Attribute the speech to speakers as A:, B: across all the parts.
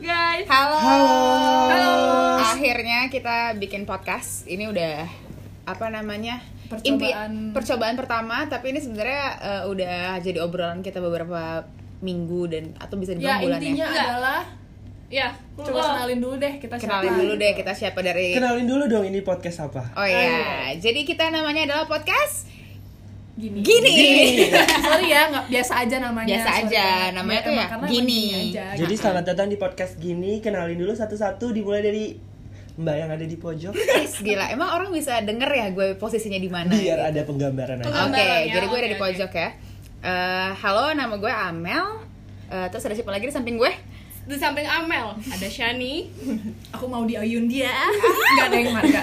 A: Halo.
B: Halo.
A: Akhirnya kita bikin podcast. Ini udah apa namanya?
C: Percobaan.
A: percobaan pertama, tapi ini sebenarnya eh, udah jadi obrolan kita beberapa minggu dan atau bisa
C: Ya
A: dibilang bulan
C: intinya
A: ya.
C: adalah
D: Ya,
C: coba kenalin dulu deh kita
A: Kenalin
C: siapa.
A: dulu deh kita siapa dari
B: Kenalin dulu dong ini podcast apa?
A: Oh iya, jadi kita namanya adalah podcast
C: Gini.
A: Gini.
C: Sorry ya, nggak biasa aja namanya.
A: Biasa
C: Sorry
A: aja,
C: banget.
A: namanya tuh
C: emang-
A: ya
C: karena
A: Gini.
C: emang aja.
B: Jadi selamat datang di podcast gini. Kenalin dulu satu-satu dimulai dari Mbak yang ada di pojok
C: Nah,
A: Guys, gila. Emang orang bisa denger ya gue posisinya di mana?
C: iya.
B: biar
A: gitu.
B: ada penggambaran aja.
D: Oke.
A: Oke,
D: Gambaran ya,
A: jadi gue
D: oke,
A: ada di
D: oke.
A: pojok ya. Eh, halo, nama gue Amel. Eh, terus ada siapa lagi di samping gue?
D: di samping Amel ada Shani.
C: Aku mau diayun dia. Enggak ada yang marga.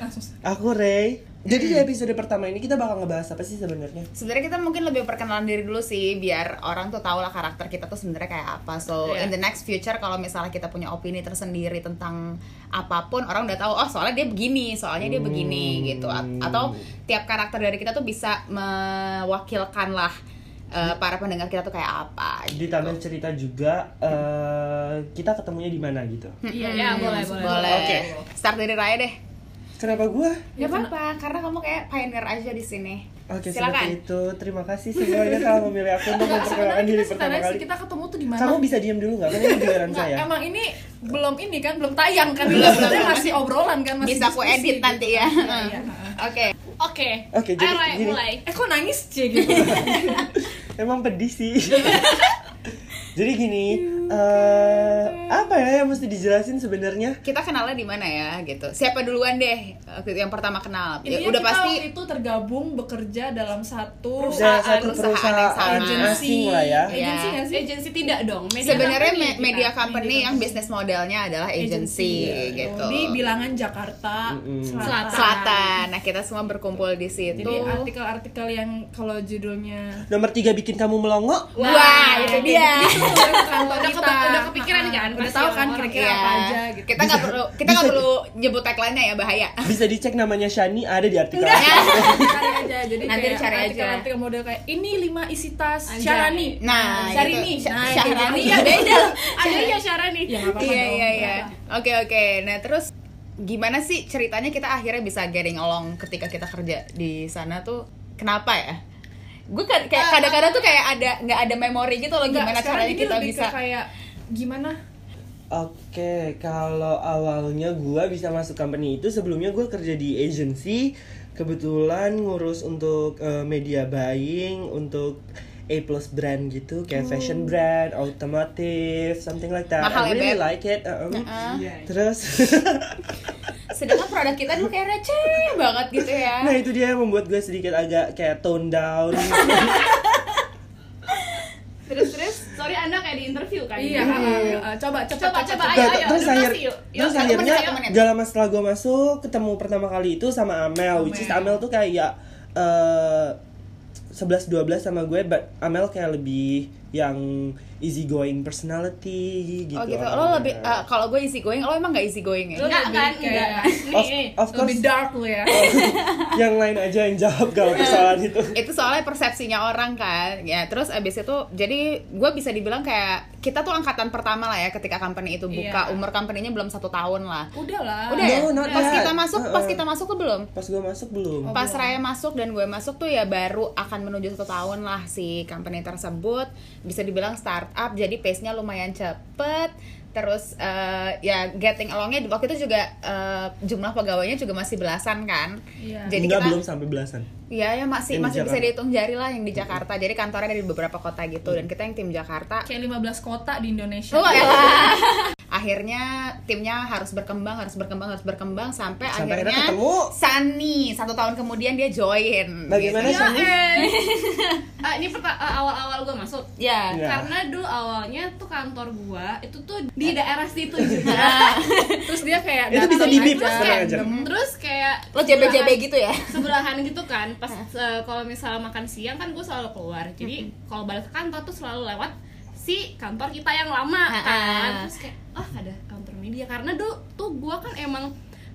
C: Langsung.
B: Aku Ray. Jadi di episode pertama ini kita bakal ngebahas apa sih sebenarnya?
A: Sebenarnya kita mungkin lebih perkenalan diri dulu sih, biar orang tuh tahu lah karakter kita tuh sebenarnya kayak apa. So
D: Iya.
A: in the next future kalau misalnya kita punya opini tersendiri tentang apapun, orang udah tahu oh soalnya dia begini, soalnya dia begini gitu. A- Atau tiap karakter dari kita tuh bisa mewakilkan lah eh, para pendengar kita tuh kayak apa.
B: Di taman cerita juga eh, kita ketemunya di mana gitu.
C: Iya,
D: ya, boleh,
A: Hmm, boleh.
D: boleh.
B: Oke.
A: Start dari Raya deh.
B: Kenapa gua?
A: Gak apa-apa, karena kamu kayak pioneer aja di sini.
B: Oke,
A: Silakan.
B: seperti itu. Terima kasih semuanya telah memilih aku untuk
C: Enggak,
B: memperkenalkan
C: sebenarnya
B: diri
C: kita
B: pertama
C: sebenarnya
B: kali.
C: sih kita ketemu tuh di mana?
B: Kamu bisa diam dulu nggak? Kan ini giliran
C: Nggak,
B: saya.
C: emang ini belum ini kan, belum tayang kan. Maksudnya masih obrolan kan, masih
A: Bisa aku
C: diskusi
A: edit
C: gitu.
A: nanti ya.
C: Iya, iya.
A: Oke.
D: Oke.
B: Oke, jadi
D: Ayo, Ray,
B: gini.
D: mulai.
C: Eh kok nangis cie gitu?
B: Emang pedih sih. Jadi gini, eh apa ya yang mesti dijelasin sebenarnya?
A: Kita kenalnya di mana ya gitu. Siapa duluan deh Oke, yang pertama kenal.
C: Intinya
A: Ya, udah
C: Iya, kita
A: pasti
C: waktu itu tergabung bekerja dalam satu
B: Ada
A: Perusahaan-
B: satu
A: perusahaan yang sama.
B: perusahaan asing lah ya.
A: Iya.
C: agensi nggak sih?
D: Agensi tidak dong. media
A: sebenarnya
D: company
A: me-
D: kita.
A: media company yang bisnis modelnya adalah agency gitu.
C: Iya, di bilangan Jakarta
B: Mm-mm.
C: Selatan.
A: Selatan. Nah, kita semua berkumpul di situ.
C: Jadi ah, artikel-artikel yang kalau judulnya
B: Nomor tiga bikin kamu melongo.
A: Wah,
C: kayak
A: itu dia.
C: gitu tuh yang kantor
D: Udah
C: kita.
D: kepe- udah kepikiran
C: Ah,
D: kan
C: Udah
D: pasti
C: tahu kan
D: orang-orang.
C: kira-kira
A: Iya.
C: apa aja gitu.
A: Kita nggak perlu kita nggak perlu nyebut tagline-nya ya bahaya.
B: Bisa dicek namanya Shani ada di artikel.
C: Cari aja. Jadi
A: Nanti
C: kayak
A: dicari aja.
C: Artikel-artikel model kayak ini lima isi tas
D: Anjay.
C: Syarani.
A: Nah,
C: Syarani.
A: gitu. Sya-
C: Nah,
A: Syahrani
C: gitu.
A: ya beda.
D: Ada ya Syarani.
C: Ya nggak apa-apa
A: Iya
C: dong.
A: iya iya. Oke oke. Nah terus gimana sih ceritanya kita akhirnya bisa getting along ketika kita kerja di sana tuh kenapa ya? Gue kan kayak kadang-kadang tuh kayak ada nggak ada memori gitu loh
C: Nah, Nggak,
A: gimana
C: sekarang
A: caranya
C: ini
A: kita
C: lebih ke
A: bisa.
C: kayak gimana
B: Oke, kalau awalnya gua bisa masuk company itu sebelumnya gua kerja di agency, kebetulan ngurus untuk eh, media buying untuk A plus brand gitu, kayak fashion brand, automotive, something like that.
A: Hmm. Mahal ya,
B: I really
A: Beb?
B: like it. uh-um. Terus,
A: Sedangkan produk kita dulu kayak receh banget gitu ya.
B: nah itu dia yang membuat gue sedikit agak kayak tone down.
D: Terus terus. Sorry Anda kayak di interview kan.
C: Iya,
D: Gitu.
C: ah, ah, coba cepat
D: Coba coba ayo
B: Nah,
D: ayo.
B: terus
D: durasi
B: akhir,
D: yuk. Yuk,
B: terus
D: satu
B: akhirnya
D: menit, yuk.
A: menit.
B: gak lama setelah gue masuk ketemu pertama kali itu sama Amel, which is Amel tuh kayak ya, eh 11 12 sama gue but Amel kayak lebih yang easy going personality gitu.
A: Oh gitu.
B: orangnya.
A: Lo lebih eh, kalau gue easy going, lo emang nggak easy going ya?
C: Lo-
D: Enggak
C: lebih
D: kan?
C: kayak-
D: Enggak.
B: of,
D: Nih.
B: of
C: lebih
B: course
C: dark lo ya.
B: yang lain aja yang jawab kalau persoalan itu.
A: itu soalnya persepsinya orang kan ya terus abis itu jadi gue bisa dibilang kayak kita tuh angkatan pertama lah ya ketika company itu
C: Iya.
A: buka umur company-nya belum satu tahun lah
C: Udah lah.
A: Udah ya?
B: No, not
A: pas
B: yet.
A: kita masuk, pas
B: Uh-uh.
A: kita masuk tuh belum.
B: Pas gue masuk belum.
A: Pas Raya masuk dan gue masuk tuh ya baru akan menuju satu tahun lah si company tersebut bisa dibilang startup jadi pace-nya lumayan cepet terus eh, ya getting along-nya di- waktu itu juga eh, jumlah pegawainya juga masih belasan kan
C: Iya.
A: jadi
B: Enggak
A: kita
B: belum sampai belasan.
A: Iya, ya masih
B: Yang di
A: masih bisa
B: Jakarta. Iya.
A: dihitung jari lah yang di Jakarta jadi kantornya dari beberapa kota gitu dan kita yang tim Jakarta
C: kayak 15 kota di Indonesia.
A: Oh, elah. akhirnya timnya harus berkembang, harus berkembang, harus berkembang sampai,
B: Sampai
A: akhirnya
B: akhirnya ketemu. Nah,
A: Sunny satu tahun kemudian dia join.
B: Bagaimana
A: Gitu.
B: Shani?
D: Iya, eh. Ah, ini perta- ah, awal-awal gue masuk.
A: Ya.
B: Ya.
D: Karena dulu awalnya tuh kantor gua itu tuh di
C: Iya.
D: daerah situ juga.
C: Terus dia kayak
B: Itu
C: datang
B: bisa di beep
C: aja.
D: terus
B: tenang
D: kayak
B: aja.
D: terus kayak
A: Lo jebe-jebe
D: sebelahan-
A: gitu ya?
D: sebelahan gitu kan pas eh, kalau misalnya makan siang kan gue selalu keluar jadi kalau balik ke kantor tuh selalu lewat si kantor kita yang lama
A: Ah,
D: kan
A: ah.
D: terus kayak oh ada kantor media karena dulu tuh gue kan emang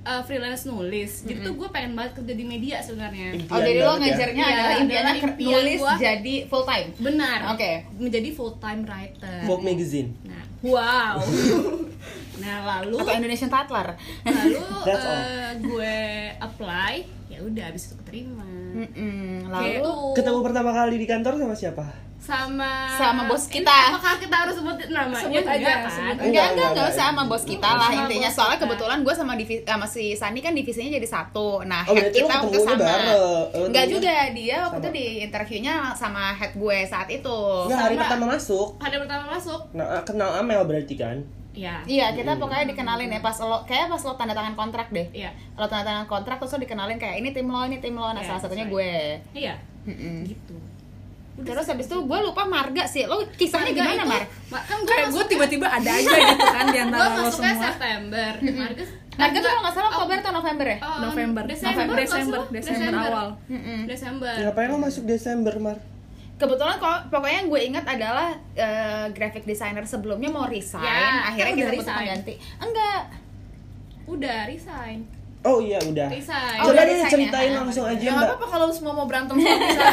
D: eh, freelance nulis jadi tuh gue pengen banget kerja di media sebenarnya
B: Impian
A: Oh, jadi lo
B: banget ya.
A: ngajarnya
D: Iya,
A: adalah impiannya
D: adalah
A: ker-
D: impian
A: nulis
D: gua.
A: jadi full time.
D: benar
A: Oke.
D: Nah. menjadi full time writer
B: Vogue magazine.
D: nah wow Nah lalu
A: atau Indonesian Tatler
D: lalu
B: That's all.
D: eh, gue apply ya udah habis itu keterima
A: Mm-mm.
D: Kayak
A: lalu
D: tuh,
B: Ketemu pertama kali di kantor sama siapa?
D: sama
A: Sama bos
D: Ini
A: kita.
D: apakah kita harus sebut namanya
E: Sebut aja,
D: Enggak kan?
E: sebut
A: Enggak,
B: Enggak,
A: enggak,
B: enggak,
A: enggak usah sama bos kita lah
D: Sama
A: intinya
D: bos
A: Soalnya
D: kita.
A: kebetulan gue sama, divisi, sama si Sani kan divisinya jadi satu Nah,
B: Oh,
A: head
B: berarti lo
A: kita waktu
B: ketemunya
A: sama
B: bareng. Eh,
A: Enggak
B: temunya-
A: juga, dia waktu
B: sama.
A: itu di interviewnya sama head gue saat itu
B: Enggak, hari
D: sama.
B: pertama masuk.
D: Pada pertama masuk
B: Nah, kenal Amel berarti kan?
D: ya
A: Iya, kita pokoknya dikenalin ya pas lo kayak pas lo tanda tangan kontrak deh.
D: Iya.
A: Lo tanda tangan kontrak terus lo dikenalin kayak ini tim lo, ini tim lo.
D: Iya,
A: Nah, salah satunya
D: sesuai.
A: gue.
D: iya
A: Mm-mm.
D: gitu
A: Hmm. Terus habis itu gue lupa marga sih. Lo kisahnya
D: Marga
A: gimana,
D: itu-
A: Mar?
D: Ma- kan gue
E: kayak gue tiba-tiba ada aja gitu kan di
D: gue
E: antara lo
D: masuknya
E: semua
D: September Marga
A: Marga Hmm. tuh kalau nggak salah Oktober atau November ya?
D: Oh,
E: November.
D: Desember
E: November,
D: kalau
E: Desember,
D: salah.
E: Desember awal.
A: Mm-mm.
D: Desember
B: Ngapain lo masuk Desember, Mar?
A: Kebetulan kalau pokoknya yang gue ingat adalah eh, graphic designer sebelumnya mau resign,
D: Ya,
A: akhirnya
D: kan
A: kita
D: udah
A: butuh
D: resign.
A: pengganti. Enggak.
D: udah resign
B: Oh iya, udah.
D: resign
A: Oh,
B: Coba
A: udah
B: deh
A: resign ya?
B: ceritain
A: Ah,
B: langsung aja,
E: Gak
B: Mbak.
E: apa-apa kalau lu semua mau berantem sama bisa.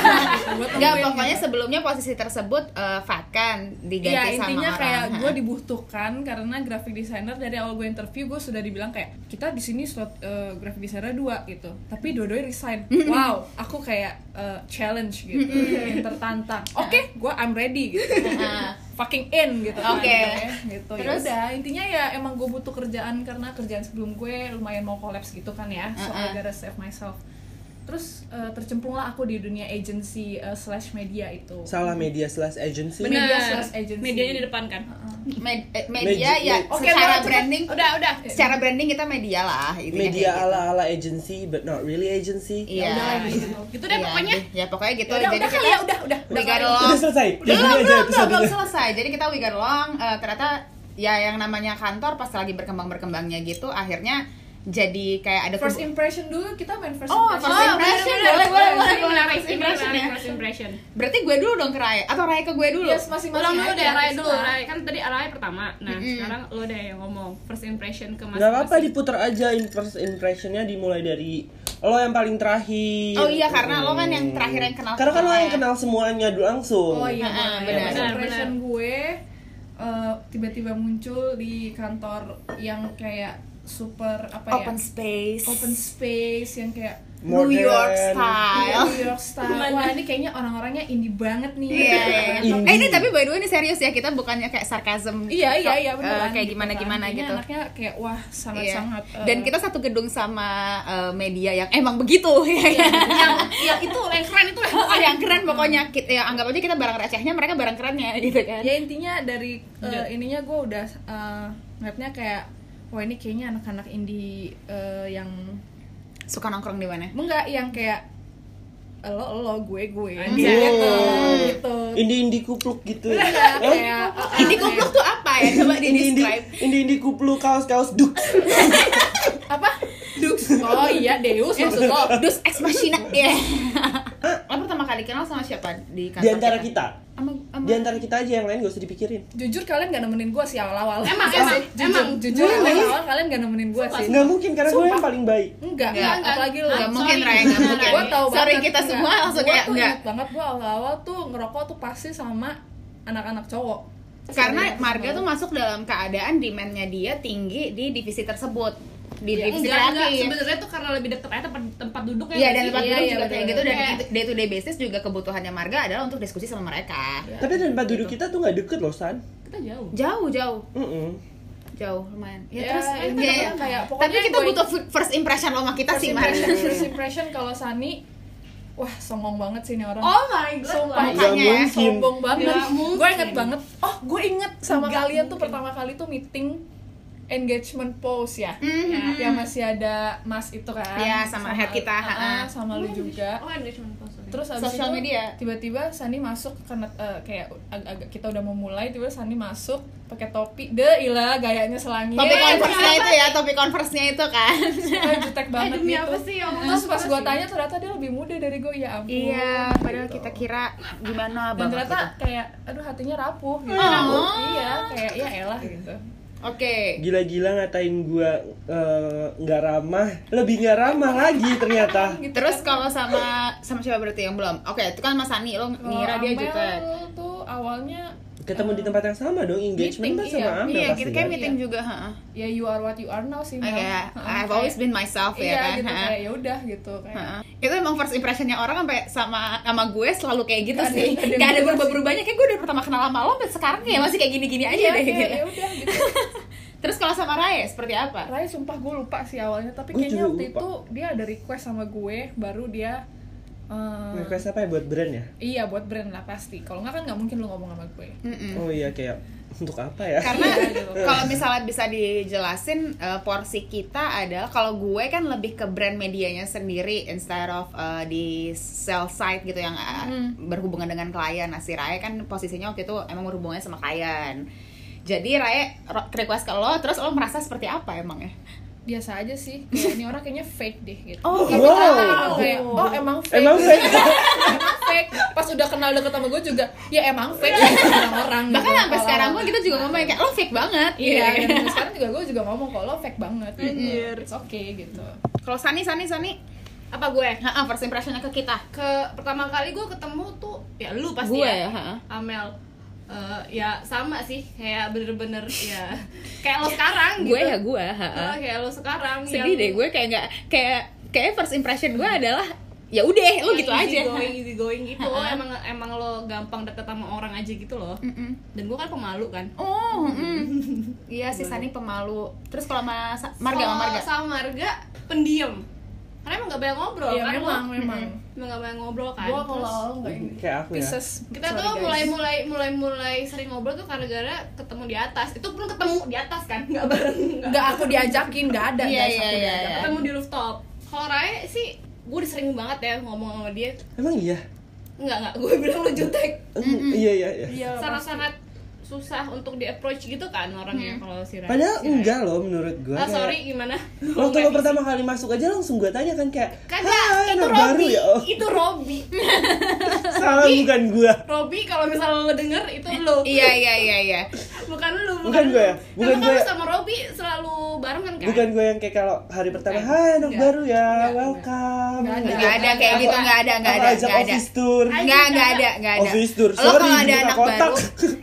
E: Gua
A: Enggak,
E: tungguin
A: pokoknya
E: gitu.
A: sebelumnya posisi tersebut eh, vakan diganti
E: Iya
A: sama
E: intinya
A: orang.
E: kayak
A: Ha.
E: gue dibutuhkan karena graphic designer dari awal gue interview gue sudah dibilang kayak kita di sini slot eh, graphic designer dua gitu tapi dua-duanya resign wow aku kayak eh, challenge gitu yang tertantang oke gue I'm ready gitu
A: Ah.
E: fucking in gitu
A: Oke.
E: akhirnya, gitu
A: Terus?
E: terus udah intinya ya emang gue butuh kerjaan karena kerjaan sebelum gue lumayan mau collapse gitu kan ya so
A: Uh-uh.
E: I gotta save myself terus eh, tercemplunglah aku di dunia agency eh, slash media itu
B: Salah media slash agency.
E: Bener. media slash agency.
D: medianya di depan kan
A: Med- eh, media
B: Medi-
A: ya
B: med-
E: Oke,
A: secara
E: Mbak, cepet.
A: branding
D: udah udah
A: secara branding kita media lah intinya
B: Media
A: kayak gitu.
B: ala-ala agency but not really agency.
A: Iya.
E: udah lah, gitu.
D: gitu deh
A: Iya,
D: pokoknya
A: ya pokoknya gitu
E: udah,
A: jadi
E: udah
A: kita
E: kali ya, udah, udah.
A: we
E: Udah
A: got
E: kali.
A: along
B: Udah selesai.
A: belum
B: Jadi aja
A: belum belum,
B: episode
A: belum
B: ini.
A: selesai jadi kita we got along eh, ternyata ya yang namanya kantor pas lagi berkembang berkembangnya gitu akhirnya jadi kayak ada
E: First
A: kubu-
E: impression dulu kita main first
A: Oh,
E: impression.
A: first impression. Boleh, boleh, boleh, boleh.
D: first impression ya first impression
A: berarti gue dulu dong ke Raya atau Raya ke gue dulu
E: Yes, masing-masing.
D: ulang dulu
E: aja,
D: deh Rai
E: kita.
D: dulu Rai kan tadi Rai pertama nah
A: Mm-mm.
D: sekarang lo deh yang ngomong first impression ke mas
B: Gak apa-apa diputer aja in- first impressionnya dimulai dari lo yang paling terakhir.
A: Oh iya, karena lo kan yang
B: Hmm.
A: terakhir yang kenal ya.
B: Karena kan lo
A: semuanya.
B: yang kenal semuanya dulu langsung.
E: Oh iya,
A: Ah,
E: boleh.
A: benar,
E: First
D: benar,
E: impression gue eh, tiba-tiba muncul di kantor yang kayak super apa
A: open
E: ya?
A: space
E: Open space yang kayak
A: New York
B: Modern.
A: style
E: New York style. Wah, ini kayaknya orang-orangnya indie banget nih.
A: Iya, iya.
B: Indie.
A: Eh ini tapi by the way ini serius ya kita bukannya kayak sarkasm.
E: Iya, iya, iya,
A: Eh,
E: beneran.
A: kayak
E: gitu
A: gimana
E: kan.
A: gimana
E: Kayaknya
A: gitu.
E: Anaknya kayak wah
A: Iya.
E: sangat-sangat eh,
A: Dan kita satu gedung sama eh, media yang emang begitu ya.
D: yang yang itu yang keren itu lah
A: Oh, yang keren pokoknya kita ya, anggap aja kita barang recehnya mereka barang kerennya gitu kan.
E: ya intinya dari eh, ininya gue udah eh, ngeliatnya kayak wah ini kayaknya anak-anak indie eh, yang
A: Suka nongkrong di mana?
E: enggak yang kayak lo lo gue gue
D: Anjay.
A: Iya,
E: gitu
B: Oh.
E: gitu
B: Indie-indie kupluk gitu.
E: Enggak,
B: Eh?
E: kayak eh, eh,
A: Ini kupluk tuh apa ya? Coba di
B: Indie-indie
A: describe.
B: indie-indie kupluk kaos-kaos duk.
E: apa Dux oh iya Deus
B: Eh,
E: maksud lo
A: Dus ex machina ya. Lo pertama kali kenal sama siapa di kantor?
B: Di antara kita.
A: Sama, sama-
B: Di antara kita aja yang lain gak usah dipikirin.
E: jujur kalian gak nemenin gue sih awal-awal
D: Emang,
E: Jujur,
D: emang, emang.
E: jujur
A: Iya,
B: Emang.
E: dari awal kalian gak nemenin gue sih
B: Nggak mungkin karena gue yang paling baik.
E: enggak
A: Nggak,
E: enggak apalagi lo
A: nggak mungkin,
D: Sorry.
A: Raya, nggak mungkin.
E: gue tau
A: Sorry,
E: banget
A: kita semua langsung
E: Gua
A: kayak,
E: tuh
A: "Nggak."
E: inget banget gue awal-awal tuh ngerokok tuh pasti sama anak-anak cowok
A: Karena Marga tuh masuk dalam keadaan demand-nya dia tinggi di divisi tersebut di
E: Iya.
D: enggak
A: divisi
D: enggak
A: Iya, kreatif.
D: sebenarnya tuh karena lebih deket aja tempat tempat duduknya
A: Iya
D: nggak
A: dan
D: sih?
A: tempat
E: Iya,
A: duduk
E: iya,
A: juga kayak
E: betul.
A: gitu dan
D: Kayak-
A: itu day to day basis juga kebutuhannya Marga adalah untuk diskusi sama mereka.
B: Tapi tempat duduk kita tuh nggak deket loh San.
D: kita jauh
A: Jauh jauh
B: Mm-mm.
A: jauh lumayan. Ya,
E: Ya,
A: terus
E: itu
A: ya,
E: namanya
A: ya.
E: kayak,
A: tapi
E: pokoknya
A: kita
E: gua-
A: butuh fu- first impression lo sama kita
E: first
A: sih Mar.
E: impression first impression kalau Sani wah songong banget sih ini orang
D: oh my god
E: Sumpah.
D: Lai.
B: Nggak
A: Makanya ya,
B: mungkin.
E: sombong banget
D: Nggak mungkin.
E: gue inget banget oh gue inget sama
D: Nggak
E: kalian tuh
D: mungkin.
E: pertama kali tuh meeting engagement pose ya
A: Mhm.
E: Ya, yang masih ada mas itu kan
A: Iya, sama head kita, ha-ha.
E: Ah, sama lu juga
D: oh engagement post sorry.
E: terus abis
A: Sosial
E: itu,
A: media.
E: tiba-tiba Sani masuk karena eh, kayak ag- agak kita udah mau mulai tiba-tiba Sani masuk pakai topi deh ilah gayanya selangit
A: Topik
D: Iya,
A: converse-nya
D: kenapa
A: itu ya, topik converse-nya itu kan.
E: Eh, jutek banget
D: demi
E: gitu
D: apa sih, ya Allah,
E: terus pas
D: apa
E: gue
D: sih?
E: tanya ternyata dia lebih muda dari gue ya ampun
A: Nah, Iya, padahal
E: Gitu.
A: kita kira gimana
E: dan
A: banget.
E: ternyata
A: gitu.
E: kayak aduh hatinya rapuh gitu
A: Oh.
E: iya kayak ya elah gitu
A: Oke.
B: Gila-gila ngatain gue eh, nggak ramah, lebih nggak ramah lagi ternyata.
E: Gitu
A: kan Terus kalau sama sama siapa berarti yang belum? Oke, itu kan Mas Ani lo ngira dia
E: Oh, Amel Iya,
A: juga.
E: tuh
C: awalnya
B: ketemu
C: eh,
B: di tempat yang sama dong engagement
C: meeting,
B: kan sama
C: iya.
B: Amel
A: Iya,
B: pasti
A: kita kayak
B: kan?
A: meeting juga, ha.
C: ya you are what you are now sih Mel.
E: Iya.
A: Kayak
C: Heeh,
A: I've
C: kayak-
A: always been myself
C: iya
A: ya kan.
C: gitu
A: ha.
C: kayak ya udah gitu kayak
A: Ha. Itu emang first impressionnya orang sampai sama sama gue selalu kayak gitu
C: Nggak ada-
A: sih.
C: nggak ada
A: Gak ada
C: yang
A: berubah-berubahnya kayak gue dari pertama kenal sama lo sampai sekarang kayak masih kayak gini-gini aja
C: iya
A: deh
C: kayak
A: gitu.
C: ya udah gitu
A: Terus kalau sama Raya seperti apa?
C: Rai sumpah gue lupa sih awalnya tapi
B: Gue
C: kayaknya
B: juga
C: waktu
B: lupa.
C: itu dia ada request sama gue baru dia eh,
B: request apa ya buat brand ya
C: iya buat brand lah pasti kalau nggak kan nggak mungkin lu ngomong sama gue
A: Mm-mm.
B: oh iya kayak untuk apa ya
A: Hmm. karena
C: Iya, gitu.
A: kalau misalnya bisa dijelasin eh, porsi kita adalah kalau gue kan lebih ke brand medianya sendiri instead of eh, di sell side gitu yang eh, berhubungan dengan klien nah si Raya kan posisinya waktu itu emang berhubungannya sama klien jadi Raya ro- request ke lo terus lo merasa seperti apa emang ya
C: biasa aja sih kayak ini orang kayaknya fake deh gitu
A: Oh,
C: Tapi
B: wow.
C: ternyata emang kayak, oh emang fake
B: Emang fake.
C: Emang fake pas udah kenal deket sama gue juga ya emang fake orang-orang gitu.
A: bahkan sampai
C: Kalau-
A: sekarang pun kita juga ngomong kayak lo fake banget
C: iya
A: gitu.
C: dan sekarang juga gue juga ngomong kalau lo fake banget gitu it's okay gitu
A: kalau Sani Sani Sani
D: apa gue
A: ha first impressionnya ke kita
D: ke pertama kali gue ketemu tuh ya lu pasti
A: gue
D: ya
A: ya ha.
D: Amel Eh, ya sama sih kayak bener-bener ya kayak lo sekarang gitu
A: gue ya gue
D: Eh,
A: ha.
D: kayak lo sekarang
A: sedih
D: yang-
A: deh gue kayak nggak kayak kayak first impression gue adalah ya udah lo
D: yang
A: gitu
D: easy
A: aja
D: going easy going iya, gitu
A: Ha-ha.
D: lo emang emang lo gampang deket sama orang aja gitu loh
A: Mm-mm.
D: dan gue kan pemalu kan
A: oh mm. iya si Sani pemalu terus kalau sama Sa- Marga sama
D: Kalau
A: Marga
D: sama marga pendiam karena emang gak banyak ngobrol
C: Iya
D: kan lo.
C: memang memang
D: emang gak banyak ngobrol kan
C: gue
D: Terus
C: kalau nggak ini
B: kayak aku ya
C: Pisces
D: kita
C: Sorry,
D: tuh
C: guys.
D: mulai mulai mulai mulai sering ngobrol tuh karena gara ketemu di atas itu pun ketemu di atas kan nggak bareng nggak
C: nggak aku diajakin nggak ada
A: Iya,
C: guys,
A: iya,
C: aku
A: iya,
C: diajak.
A: iya.
D: ketemu di rooftop kalau Raya sih gue udah sering banget ya ngomong sama dia
B: emang iya
D: nggak nggak gue bilang lu jutek
B: Mm, iya iya iya
C: Iya, lah,
D: sangat sangat susah untuk di approach gitu kan orangnya kalau si Raya
B: padahal
D: si Raya.
B: enggak loh menurut gue
D: Iya. ah sorry Iya, gimana
B: waktu lo pertama kali masuk aja langsung gue tanya kan kayak
D: kagak itu
B: anak
D: Robi
B: baru ya oh,
D: itu Robi
B: salah bukan gue
D: Robi kalau misalnya lo denger itu lo
A: iya iya iya iya
D: bukan lu bukan,
B: Bukan gue ya?
D: lu.
B: Bukan
D: Karena kan
B: gue
D: lu
B: ya?
D: sama Robi selalu bareng kan kan
B: bukan gue yang kayak kalau hari pertama
D: Bukan.
B: hai anak
D: Enggak.
B: baru ya
C: Enggak,
B: welcome
C: enggak. Enggak
A: nggak ada kayak gitu nggak ada nggak
B: Aku
A: ada
B: ajak
A: nggak ada
B: office tour
A: nggak nggak ada nggak ada
B: Office tour.
A: lo
B: Sorry,
A: kalau ada
B: buka
A: anak
B: kotak.
A: baru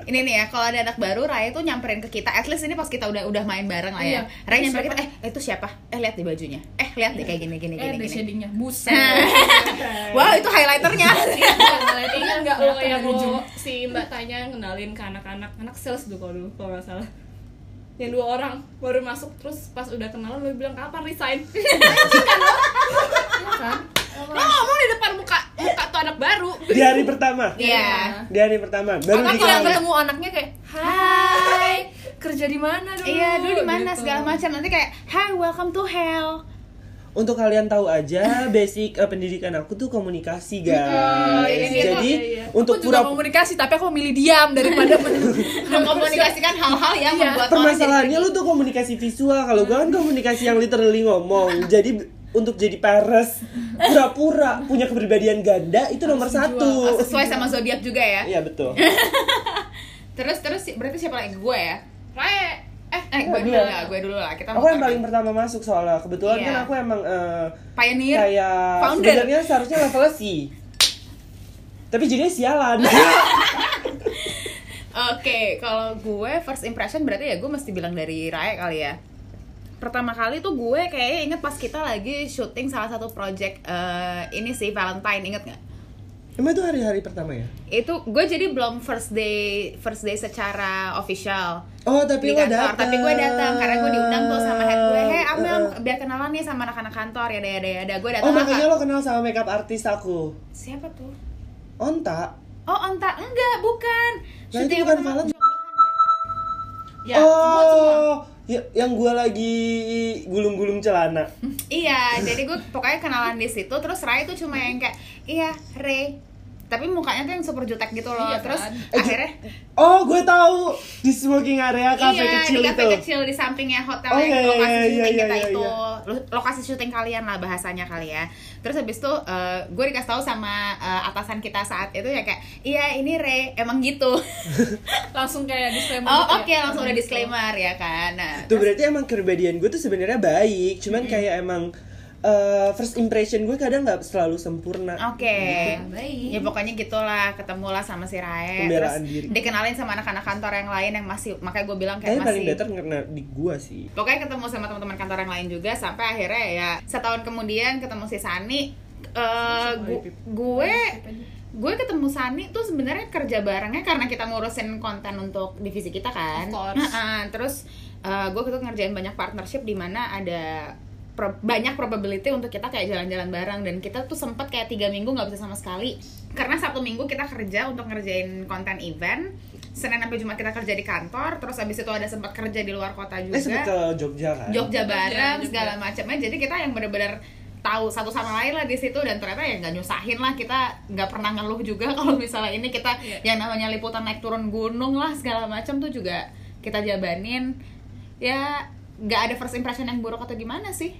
A: ini nih ya kalau ada anak baru Raya tuh nyamperin ke kita at least ini pas kita udah udah main bareng lah ya
C: Iya.
A: Raya
C: Itu
A: nyamperin kita
C: siapa?
A: eh itu siapa eh lihat di bajunya eh lihat deh kayak gini gini
C: eh
A: gini
C: ada
A: gini
C: shadingnya buset
A: Wow, itu highlighternya. Iya.
D: ingat
C: nggak
D: nggak
C: lo
D: lo
C: yang
D: yang
C: hijau?
D: lo Iya, si mbak tanya kenalin ke anak-anak anak sales dulu kalau dulu kalau nggak salah yang dua orang baru masuk terus pas udah kenalan lo bilang kapan resign kan?
C: Iya kan?
D: lo ngomong di depan muka muka tuh anak baru
B: di hari pertama
A: Iya.
B: di hari pertama baru
C: Bahkan kalau
B: dikenalin
C: ketemu anaknya kayak Hai kerja di mana dulu
A: Iya, dulu di mana
C: Gitu.
A: segala macam. Nanti kayak, "Hi, welcome to hell."
B: untuk kalian tahu aja basic eh, pendidikan aku tuh komunikasi guys
D: iya, iya,
B: jadi
D: iya, iya.
B: untuk
C: aku juga
B: pura
C: komunikasi tapi aku memilih diam daripada men-
A: Mengkomunikasikan hal-hal
C: Iya,
A: yang membuat orang jadi
B: permasalahannya lu tuh komunikasi visual kalau gua kan komunikasi yang literally ngomong jadi untuk jadi pares pura-pura punya kepribadian ganda itu nomor
A: Oh,
B: satu
A: sesuai sama zodiak juga ya.
B: iya betul
A: Terus terus si- berarti siapa lagi gue ya?
D: Raya eh
A: Eh, gue dulu lah, gue dulu lah. Kita
B: Oh, aku yang paling pertama masuk soalnya kebetulan
A: Iya.
B: kan aku emang eh,
A: pioneer.
B: kayak
A: Founder.
B: sebenarnya seharusnya levelnya sih tapi jadinya sialan
A: Oke, kalau gue first impression berarti ya gue mesti bilang dari Raya kali ya. Pertama kali tuh gue kayaknya inget pas kita lagi syuting salah satu project eh, ini sih Valentine, inget nggak?
B: emang itu hari-hari pertama ya
A: Itu gue jadi belum first day first day secara official.
B: oh tapi
A: di
B: lo
A: kantor
B: datang
A: tapi gue datang karena gue diundang tuh sama head gue hei Amel biar kenalan nih sama anak-anak kantor ya daya daya gue datang
B: oh
A: lah,
B: makanya
A: Kak."
B: lo kenal sama makeup artis aku
A: siapa tuh
B: onta
A: oh onta enggak bukan
B: Nah,
A: Syuting
B: itu bukan
A: apa namanya?
B: film.
D: ya semua semua
B: oh ya- yang gue lagi gulung-gulung celana
A: iya jadi gue pokoknya kenalan di situ terus Rai tuh cuma yang kayak iya Ray tapi mukanya tuh yang super jutek gitu loh
C: Iya,
A: terus
C: kan?
A: akhirnya
B: oh gue tahu di smoking area Eh, kafe
A: iya
B: kecil
A: di kafe
B: itu
A: kecil di sampingnya hotel
B: Oh,
A: yang
B: iya, iya,
A: lokasi
B: iya,
A: syuting
B: iya,
A: kita
B: iya,
A: itu
B: iya.
A: Lo- lokasi syuting kalian lah bahasanya kali ya terus habis itu eh, gue dikasih tahu sama eh, atasan kita saat itu ya kayak iya ini re emang gitu
C: langsung kayak disclaimer
A: oh
C: gitu ya.
A: oke langsung udah disclaimer ya kan nah
B: Tuh berarti emang kepribadian gue tuh sebenarnya baik, cuman kayak emang eh, first impression gue kadang nggak selalu sempurna
A: Oke.
B: Gitu.
D: baik
A: Ya pokoknya gitulah, ketemulah sama si Rae
B: Pembelaan
A: terus
B: diri.
A: dikenalin sama anak-anak kantor yang lain yang masih makanya gue bilang
B: tapi
A: kayak
B: paling
A: masih
B: better karena di gue sih
A: Pokoknya ketemu sama teman-teman kantor yang lain juga sampai akhirnya ya setahun kemudian ketemu si Sani eh gu- gue gue ketemu Sani tuh sebenarnya kerja barengnya karena kita ngurusin konten untuk divisi kita
D: Of
A: kan.
D: course.
A: Heeh, terus eh, gue tuh ngerjain banyak partnership di mana ada pro- banyak probability untuk kita kayak jalan-jalan bareng dan kita tuh sempat kayak tiga minggu nggak bisa sama sekali karena satu minggu kita kerja untuk ngerjain konten event Senin sampai Jumat kita kerja di kantor terus abis itu ada sempat kerja di luar kota juga
B: eh sempet ke Jogja kan
A: Jogja
D: Iya,
A: bareng
D: Jogja.
A: segala macamnya jadi kita yang bener-bener tahu satu sama lain lah di situ dan ternyata ya nggak nyusahin lah kita nggak pernah ngeluh juga kalau misalnya ini kita
D: Iya.
A: yang namanya liputan naik turun gunung lah segala macam tuh juga kita jabanin ya nggak ada first impression yang buruk atau gimana sih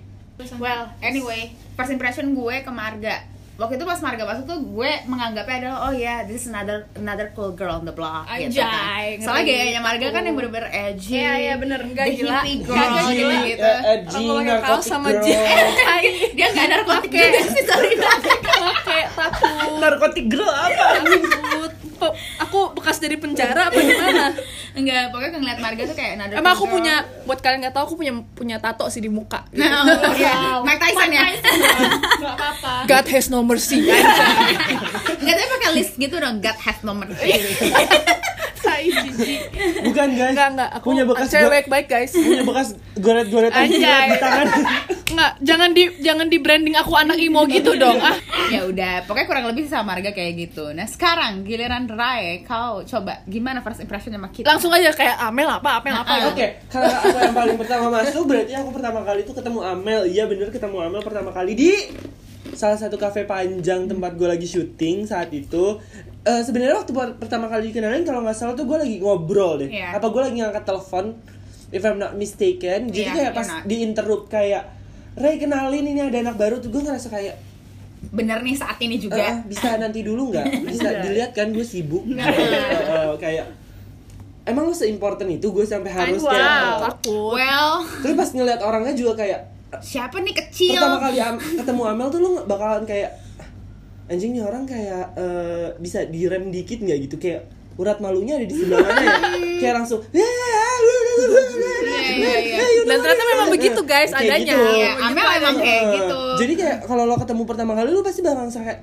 A: well anyway first impression gue ke Marga waktu itu pas Marga masuk tuh gue menganggapnya adalah oh ya this is another another cool girl on the block gitu kan
D: Anjay, ngeri.
A: soalnya
D: gitu.
A: gayanya Marga kan yang bener-bener edgy
D: Iya, iya, bener. Nggak
A: The
D: gila.
A: hippie girl
D: Nggak
B: G,
A: gitu,
D: gila.
B: eh,
A: gitu.
B: eh, G,
C: Aku pakai kaos
B: narkotik
C: sama
B: girl.
C: J.
A: dia nggak narkotik juga sih sorry
C: kayak takut
B: narkotik girl apa?
C: takut Pe- aku bekas dari penjara apa gimana
A: enggak pokoknya ngeliat Marga tuh kayak another
C: emang aku
A: cool girl.
C: punya buat kalian nggak tahu aku punya punya tato sih di muka
A: nah oh, iya. Mike Tyson ya
D: nggak apa-apa
C: God has no mercy
A: nggak tapi pakai list gitu dong God has nomor
C: Tai jijik.
B: Bukan guys.
C: Enggak, enggak. Aku
B: punya bekas
C: cewek
B: go-
C: baik, guys.
B: punya bekas goret-goretan
C: Anjay.
B: di tangan.
C: Enggak, jangan di jangan di branding aku anak emo gitu dong. Ah,
A: ya udah pokoknya kurang lebih sama Marga kayak gitu nah sekarang giliran Rae kau coba gimana first impression sama kita
C: langsung aja kayak Amel apa, Amel apa.
A: Ah,
B: Oke,
A: iya.
B: kalau aku yang paling pertama masuk berarti aku pertama kali itu ketemu Amel. Iya bener ketemu Amel pertama kali di salah satu kafe panjang tempat gue lagi syuting saat itu. Eh, Sebenarnya waktu per- pertama kali dikenalin kalau nggak salah tuh gue lagi ngobrol deh.
A: Iya.
B: Apa gue lagi ngangkat telepon? If I'm not mistaken. Jadi
A: Iya,
B: kayak
A: you're
B: pas
A: not.
B: diinterrupt kayak Ray kenalin ini ada anak baru tuh gue ngerasa kayak
A: bener nih saat ini
B: Eh,
A: juga
B: bisa nanti dulu nggak bisa dilihat kan gue sibuk Eh, kayak emang lo seimportan itu gue sampai harus
C: Wow,
A: Kan,
B: kayak
C: takut.
A: well
B: terus pas ngeliat orangnya juga kayak
A: siapa nih kecil
B: pertama kali Am- ketemu Amel tuh lo nggak bakalan kayak "Ah, anjing nih orang kayak eh, bisa direm dikit nggak gitu kayak urat malunya ada di sebelah mana ya kayak langsung "Ya, lu, lu, lu, lu, lu, lu,
A: iya, iya.
B: lu, lu,
C: Dan ternyata
B: lu, lu,
C: memang
B: lu."
C: begitu, guys,
B: Kayak
C: adanya.
B: gitu.
A: Iya, Amel emang kayak
B: Eh,
A: gitu
B: Jadi kayak kalau lo ketemu pertama kali lo pasti bakal ngerasa kayak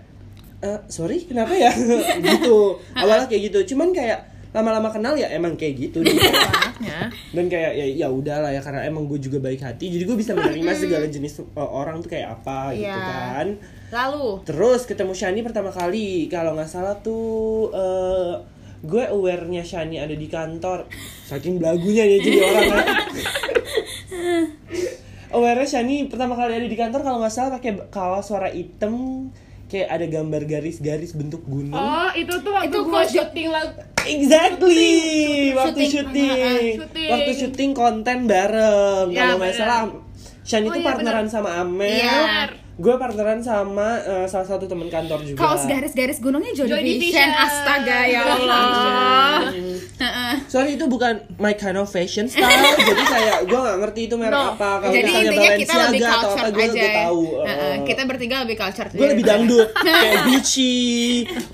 B: "Eh, sorry kenapa ya gitu. Awalnya kayak gitu. Cuman kayak lama-lama kenal ya emang kayak gitu. deh. Dan kayak ya ya udahlah ya karena emang gue juga baik hati. Jadi gue bisa menerima segala jenis uh, orang tuh kayak apa gitu
A: Iya.
B: kan.
A: lalu
B: Terus ketemu Shani pertama kali kalau nggak salah tuh eh, gue awarenya Shani ada di kantor saking belagunya dia jadi orang kan. Awarenya Shani pertama kali ada di kantor kalau nggak salah pakai kaos suara hitam kayak ada gambar garis-garis bentuk gunung.
D: oh itu tuh waktu
A: Itu
D: gua
A: coach-
D: syuting lagu
B: Exactly. waktu syuting.
A: Syuting.
D: Ah, syuting.
B: Waktu syuting konten bareng.
D: Ya,
B: Kalau nggak
D: bener.
B: salah Shani
D: Oh,
B: tuh
D: iya,
B: partneran sama Amel.
A: Iya.
B: Gue partneran sama eh, salah satu teman kantor juga.
A: kaos garis-garis gunungnya Joy,
D: Joy
A: Division.
D: Division.
A: astaga ya Allah Heeh.
B: Sorry itu bukan my kind of fashion style. jadi kayak gue nggak ngerti itu merek
C: No.
B: apa. Kalau
A: Jadi
B: misalnya
A: intinya kita
B: Balenciaga
A: lebih
B: atau apa
A: cultured
B: gue
A: aja. ya.
B: lebih tahu. Oh.
A: Heeh, kita bertiga lebih cultured.
B: gue
C: Iya.
B: lebih dangdut kayak Gucci,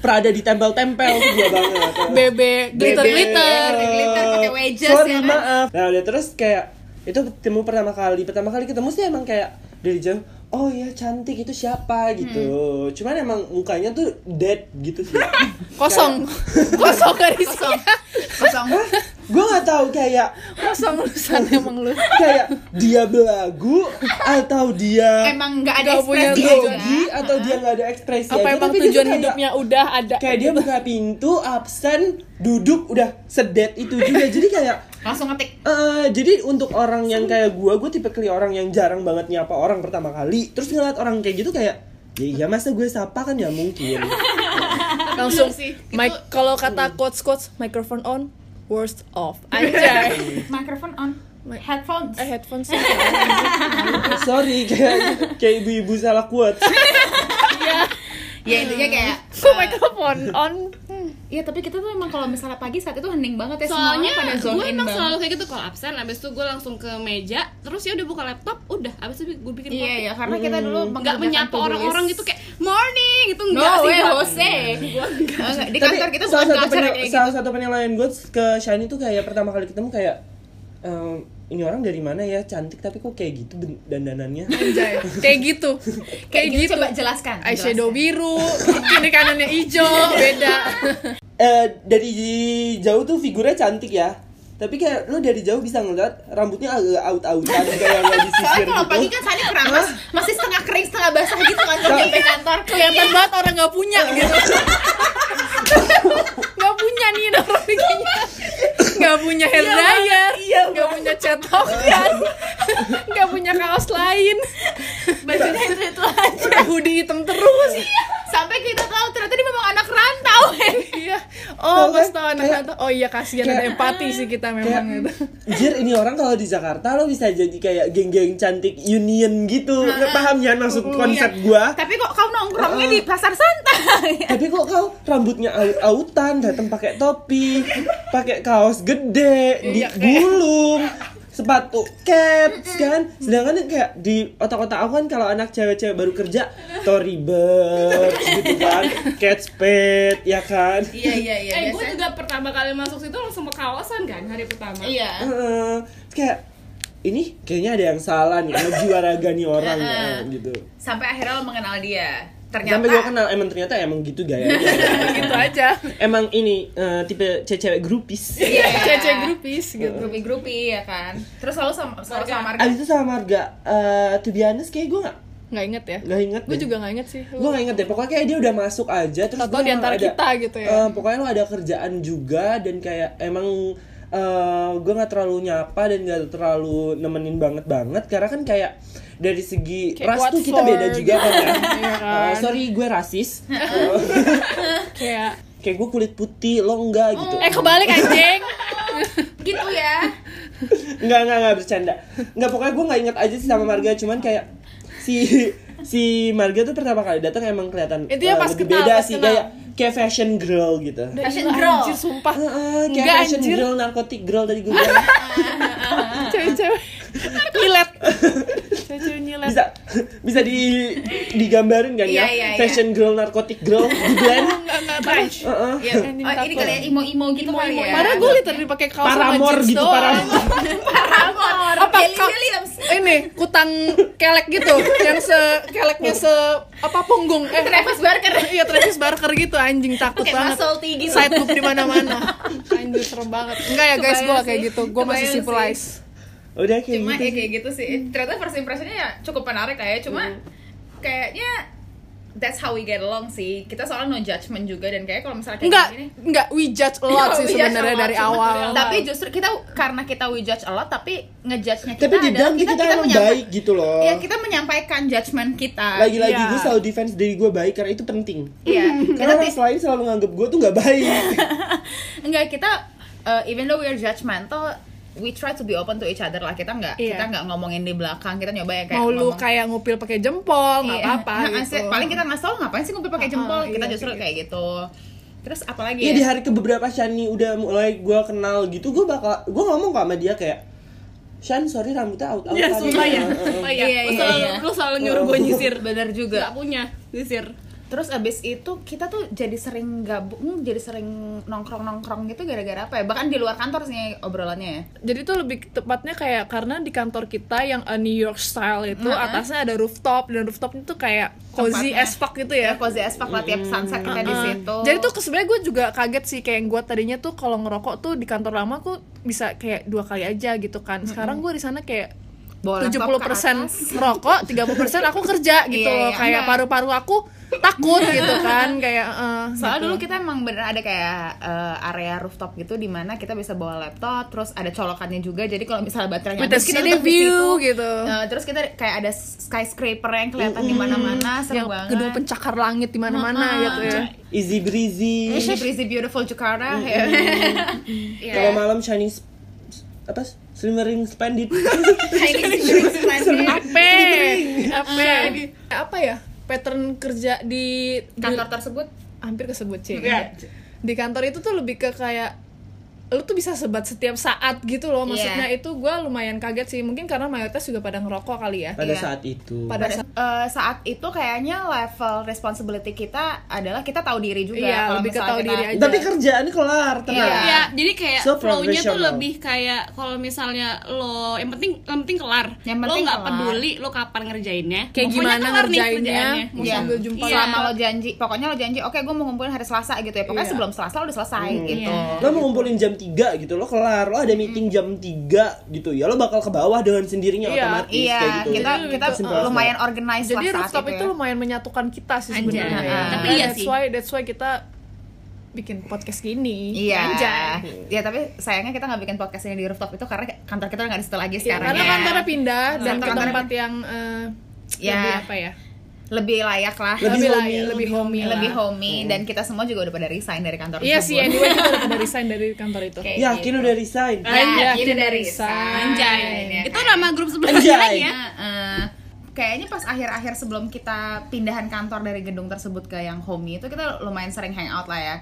B: Prada ditempel-tempel tuh gue Iya banget.
C: Bebe, glitter glitter.
A: Bebe. glitter pakai wedges,
B: Sorry,
A: ya kan?
B: maaf. Nah, udah terus kayak itu ketemu pertama kali. Pertama kali ketemu sih emang kayak dari jauh, oh ya cantik itu siapa gitu.
C: Hmm.
B: Cuman emang mukanya tuh dead gitu sih.
C: Kosong. Kosong garisnya.
A: kosong.
B: Gue nggak tahu kayak
C: Kosong lulusan emang lu.
B: kayak dia belagu atau dia
A: Emang nggak ada
C: Nggak punya
A: ekspresi
C: gogi.
A: aja.
B: grogi atau dia nggak ada ekspresi
C: ya? Apa
B: aja,
C: emang
B: tapi dia tuh
C: tujuan
B: kayak-
C: hidupnya udah ada?
B: kayak dia buka pintu absen duduk udah sedet itu juga jadi kayak
A: Langsung ngetik.
B: eh, jadi untuk orang yang kayak gua gue tipe orang yang jarang banget nyapa orang pertama kali terus ngeliat orang kayak gitu kayak ya iya masa gue sapa kan ya mungkin
C: langsung
D: sih.
C: mic kalau kata coach coach microphone on, worst off. Anjay.
A: Microphone on.
C: Mi-
A: Headphones.
C: Eh headphones sih.
B: sorry kayak kayak ibu-ibu salah kuat
A: Ya intinya kayak
C: Kok microphone on? Hmm.
A: Iya tapi kita tuh emang kalau misalnya pagi saat itu hening banget ya
D: soalnya
A: semuanya pada zone
D: gue
A: in
D: emang
A: banget.
D: selalu kayak gitu kalau absen abis itu gue langsung ke meja terus ya udah buka laptop udah abis itu gue bikin
A: Iya
D: kopi
A: ya karena kita dulu
D: nggak
A: mengerjakan
D: menyapa
A: to-do
D: orang-orang
A: list.
D: gitu kayak morning gitu
A: No
D: enggak sih
A: way,
D: gua.
A: Jose. Enggak, di kantor kita bukan
B: salah satu
A: culture
B: penil-
A: kayak gitu.
B: salah satu penilaian gue ke Shani tuh kayak pertama kali ketemu kayak ehm, ini orang dari mana ya cantik tapi kok kayak gitu ben- dandanannya
C: Anjay. Kayak gitu. Kayak gitu.
A: Coba jelaskan.
C: Eyeshadow
A: jelaskan.
C: biru, kiri kanannya hijau, beda.
B: Eh, dari jauh tuh figurnya cantik ya tapi kayak lo dari jauh bisa ngeliat rambutnya agak out-outan kayak nggak disisir
A: Soalnya kalau
B: gitu
A: pagi kan Sani keramas, masih setengah kering setengah basah gitu kan kalau nyampe kantor.
C: Kelihatan banget orang nggak punya gitu. Nggak punya nih orang bikinnya. Nggak punya hair dryer, nggak punya cat token, nggak punya kaos lain.
D: bajunya itu itu aja
C: Hoodie hitam terus.
A: Sampai kita tahu ternyata dia memang anak rantau.
C: Iya. Oh,
B: Tau kan?
C: pas tau anak
B: Kayak-
C: rantau. Oh iya kasihan ada
B: kayak-
C: empati sih kita
B: kayak
C: memang itu.
B: jir ini orang kalau di Jakarta lo bisa jadi kayak geng-geng cantik union gitu paham ya maksud konsep gua
A: Tapi kok kau nongkrongnya di pasar santai?
B: tapi kok kau rambutnya out-outan datang pakai topi pakai kaos gede
C: Iya,
B: digulung sepatu caps kan sedangkan kayak di otak-otak aku kan kalau anak cewek-cewek baru kerja Tory Burch gitu kan Cat Spade ya kan
A: Iya iya iya.
D: eh gue
A: biasanya-
D: juga pertama kali masuk situ langsung ke kawasan kan hari pertama
A: Iya.
B: Heeh. Terus kayak ini kayaknya ada yang salah nih ngejuaraga nih orang ya gitu
A: Sampai akhirnya lo mengenal dia. Ternyata
B: sampai gue kenal emang ternyata emang gitu gayanya
C: Gitu aja.
B: emang ini eh, tipe cewek grupis
A: Iya.
C: Cece grupis gitu.
A: grupi-grupi ya kan. Terus selalu sama selalu sama Marga.
B: Abis itu sama marga eh to be honest kayak gue gak,
C: Nggak inget ya?
B: nggak inget
C: Gue juga nggak inget sih.
B: Gue gak inget deh, pokoknya kayak dia udah masuk aja terus
C: Tau-tau
B: gua
C: di antara
B: ada-
C: kita gitu ya.
B: Eh, Pokoknya lo ada kerjaan juga dan kayak emang gue gak terlalu nyapa dan gak terlalu nemenin banget-banget Karena kan kayak dari segi
C: Kayak
B: ras
C: what
B: tuh
C: for
B: kita beda juga kan ya
C: Iya kan?
B: Eh, Sorry gue rasis Eh,
C: Kayak
B: Kayak gue kulit putih, lo enggak gitu
C: eh kebalik anjing.
A: Gitu ya.
B: Enggak, enggak, enggak bercanda. Enggak pokoknya gue enggak inget aja sih sama Marga, cuman kayak si si Marga tuh pertama kali datang emang kelihatan
C: Itu ya
B: eh,
C: pas
B: lebih
C: kenal,
B: beda
C: pas
B: sih
C: kenal.
B: kayak kayak fashion girl gitu.
A: Fashion
C: Ih,
A: girl.
C: Anjir sumpah.
B: Heeh, kayak
C: Enggak,
B: fashion
C: anjir.
B: girl, narkotik girl tadi gue bilang.
C: Cewek-cewek nyilet. Cewek-cewek nyilet.
B: bisa bisa di digambarin kan ya?
A: Iya, iya, iya.
B: Fashion girl, narkotik girl, di blend.
C: Enggak enggak tahu.
B: Heeh.
A: Ya,
C: Yang
A: oh, ini
C: ditakut.
A: kali ya imo-imo gitu kali ya.
C: Padahal gue literally pakai kaos
B: Paramor
C: jeans
B: gitu,
C: doang.
B: paramor.
A: Paramore.
C: Apa,
A: Kelly
C: Kak?
A: Williams.
C: Ini kutang kelek gitu, yang se keleknya se apa punggung. Eh,
A: Travis Barker.
C: Iya Travis Barker gitu anjing takut
A: Pakai
C: banget.
A: muscle tea gitu.
C: Side boob di mana-mana. Anjir serem banget. Enggak ya guys, gue
A: Kebayang
C: kayak
A: sih.
C: gitu. Gue masih
A: Kebayang
C: civilized.
B: Udah kayak
A: cuma
B: gitu.
A: ya kayak gitu sih ternyata first impressionnya ya cukup menarik lah ya cuma kayaknya that's how we get along sih kita soalnya no judgment juga dan kayak kalau misalnya kayak
C: Enggak,
A: gini
C: enggak we judge a lot
A: Iya,
C: sih
A: we judge
C: sebenarnya
A: a lot,
C: dari
A: cuma
C: awal.
A: tapi justru kita karena kita we judge a lot tapi ngejudge-nya ya, kita
B: Tapi di
A: adalah
B: dalam kita, kita, emang
A: menyampa-
B: baik gitu loh.
A: Iya, kita menyampaikan judgment kita
B: Lagi-lagi
C: Iya.
B: gue selalu defense diri gue baik karena itu penting.
A: iya kita
B: Karena orang
A: ti-
B: lain selalu nganggep gue tuh nggak baik.
A: enggak kita uh, even though we are judgmental we try to be open to each other lah kita nggak
C: Iya.
A: kita nggak ngomongin di belakang kita nyoba ya kayak
C: Mau lu
A: ngomong-
C: kayak ngupil pakai jempol, enggak
A: Iya.
C: apa-apa
A: Nah,
C: gitu.
A: asli- Paling kita nggak tahu ngapain sih ngumpul pakai
C: Ah,
A: jempol.
C: iya,
A: kita
C: kayak
A: justru
C: gitu.
A: kayak gitu. Terus apalagi
B: Iya
A: ya?
B: di hari ke beberapa Shani udah mulai gue kenal gitu gue bakal gue ngomong kok sama dia kayak Shan sorry rambutnya out out
D: ya sumpah ya sumpah ya
A: Iya,
D: Lu
A: iya,
D: selalu
A: iya.
D: lu selalu nyuruh gue nyisir
A: Bener juga.
D: nggak punya nyisir
A: Terus abis itu kita tuh jadi sering gabung, hmm, jadi sering nongkrong-nongkrong gitu gara-gara apa ya? Bahkan di luar kantor sih obrolannya ya.
C: Jadi tuh lebih tepatnya kayak karena di kantor kita yang a New York style itu atasnya ada rooftop dan rooftop itu kayak cozy
A: Tempatnya.
C: as fuck gitu ya.
A: Ya kozi espak lah tiap sunset kita di
C: Uh-uh.
A: situ.
C: Jadi tuh ke- sebenarnya gue juga kaget sih kayak gue tadinya tuh kalau ngerokok tuh di kantor lama aku bisa kayak dua kali aja gitu kan. Sekarang gue di sana kayak
A: Bawa laptop
C: 70%
A: ke atas.
C: rokok, 30% aku kerja gitu loh.
A: Iya, iya,
C: kayak
A: enggak.
C: paru-paru aku takut gitu kan kayak eh,
A: Soalnya
C: gitu.
A: dulu kita emang bener ada kayak eh, area rooftop gitu di mana kita bisa bawa laptop, terus ada colokannya juga. Jadi kalau misalnya baterainya
C: With a
A: habis, kita
C: city
A: tetap di
C: view
A: situ.
C: gitu.
A: Eh, terus kita kayak ada skyscraper yang kelihatan di mana-mana, seru
C: yang
A: banget.
C: gedung pencakar langit di mana-mana
A: Mm-mm.
C: gitu ya.
B: easy breezy
A: It's breezy beautiful Jakarta. ya. Iya.
B: kalau malam Shani s- s- apa slimmering splendid
A: Chinese drinks planted.
C: Apa? Apa? Apa ya? Pattern kerja di di-
A: Kantor tersebut
C: hampir kesebut sih.
B: Iya.
E: di kantor itu tuh lebih ke kayak lu tuh bisa sebat setiap saat gitu loh maksudnya
A: Iya.
E: itu gua lumayan kaget sih mungkin karena mayoritas juga pada ngerokok kali ya
B: pada
A: Iya.
B: saat itu
E: Pada-
A: Pada eh, saat itu kayaknya level responsibility kita adalah kita tahu diri juga.
E: Iya,
A: Kalau
E: lebih ke
A: misalnya
E: tahu
A: kita-
E: diri aja.
B: tapi kerjaannya kelar tenang
A: Iya.
D: Iya, jadi kayak
B: So
D: flow-nya tuh
B: professional.
D: lebih kayak kalau misalnya lo yang penting yang penting kelar.
A: Yang
D: lo
A: penting
D: nggak
A: kelar.
D: peduli lo kapan ngerjainnya.
E: kayak
D: pokoknya
E: gimana
D: kelar nih
E: ngerjainnya
D: kerjaannya.
E: mau
A: Iya.
E: sambil jumpa
D: Iya.
A: selama lo janji pokoknya lo janji oke gue mau ngumpulin hari Selasa gitu ya pokoknya
E: Iya. Hmm.
A: sebelum Selasa lo udah selesai gitu
D: Iya.
B: lo mau ngumpulin jam 3 gitu lo kelar lo ada meeting jam 3 gitu ya lo bakal ke bawah dengan sendirinya
E: Iya,
B: otomatis
A: iya
B: kayak gitu
A: kita kita
B: Simple as
A: lumayan organize
E: jadi
A: lah saat
E: rooftop itu
A: ya.
E: lumayan menyatukan kita sih
D: Anjay.
E: sebenarnya
A: Iya.
E: Dan
A: Tapi
D: iya
E: that's
D: sih.
E: why that's why kita bikin podcast gini
A: Iya,
E: Anjay.
A: ya tapi sayangnya kita nggak bikin podcast ini di rooftop itu karena kantor kita udah nggak di situ lagi
E: Iya,
A: sekarang
E: karena
A: ya.
E: kantornya pindah dan ke
A: Kantornya-
E: tempat yang eh,
A: Ya.
E: lebih apa ya
A: lebih layak lah,
B: Lebih
E: lah-
B: homey.
E: lebih homey lah. Hmm.
A: lebih homey dan kita semua juga udah pada resign dari kantor
E: iya sih
A: tersebut.
E: anyway kita udah pada resign dari kantor itu
B: well. yakin
A: gitu.
B: udah resign
E: Nah,
A: Ya,
E: Yakin
A: ini
E: udah
A: dari
E: resign.
D: Anjay.
A: Ya
D: Itu nama grup sebelah
B: Anjay.
D: lagi ya.
A: Heeh. Eh, kayaknya pas akhir-akhir sebelum kita pindahan kantor dari gedung tersebut ke yang homey itu kita lumayan sering hangout lah ya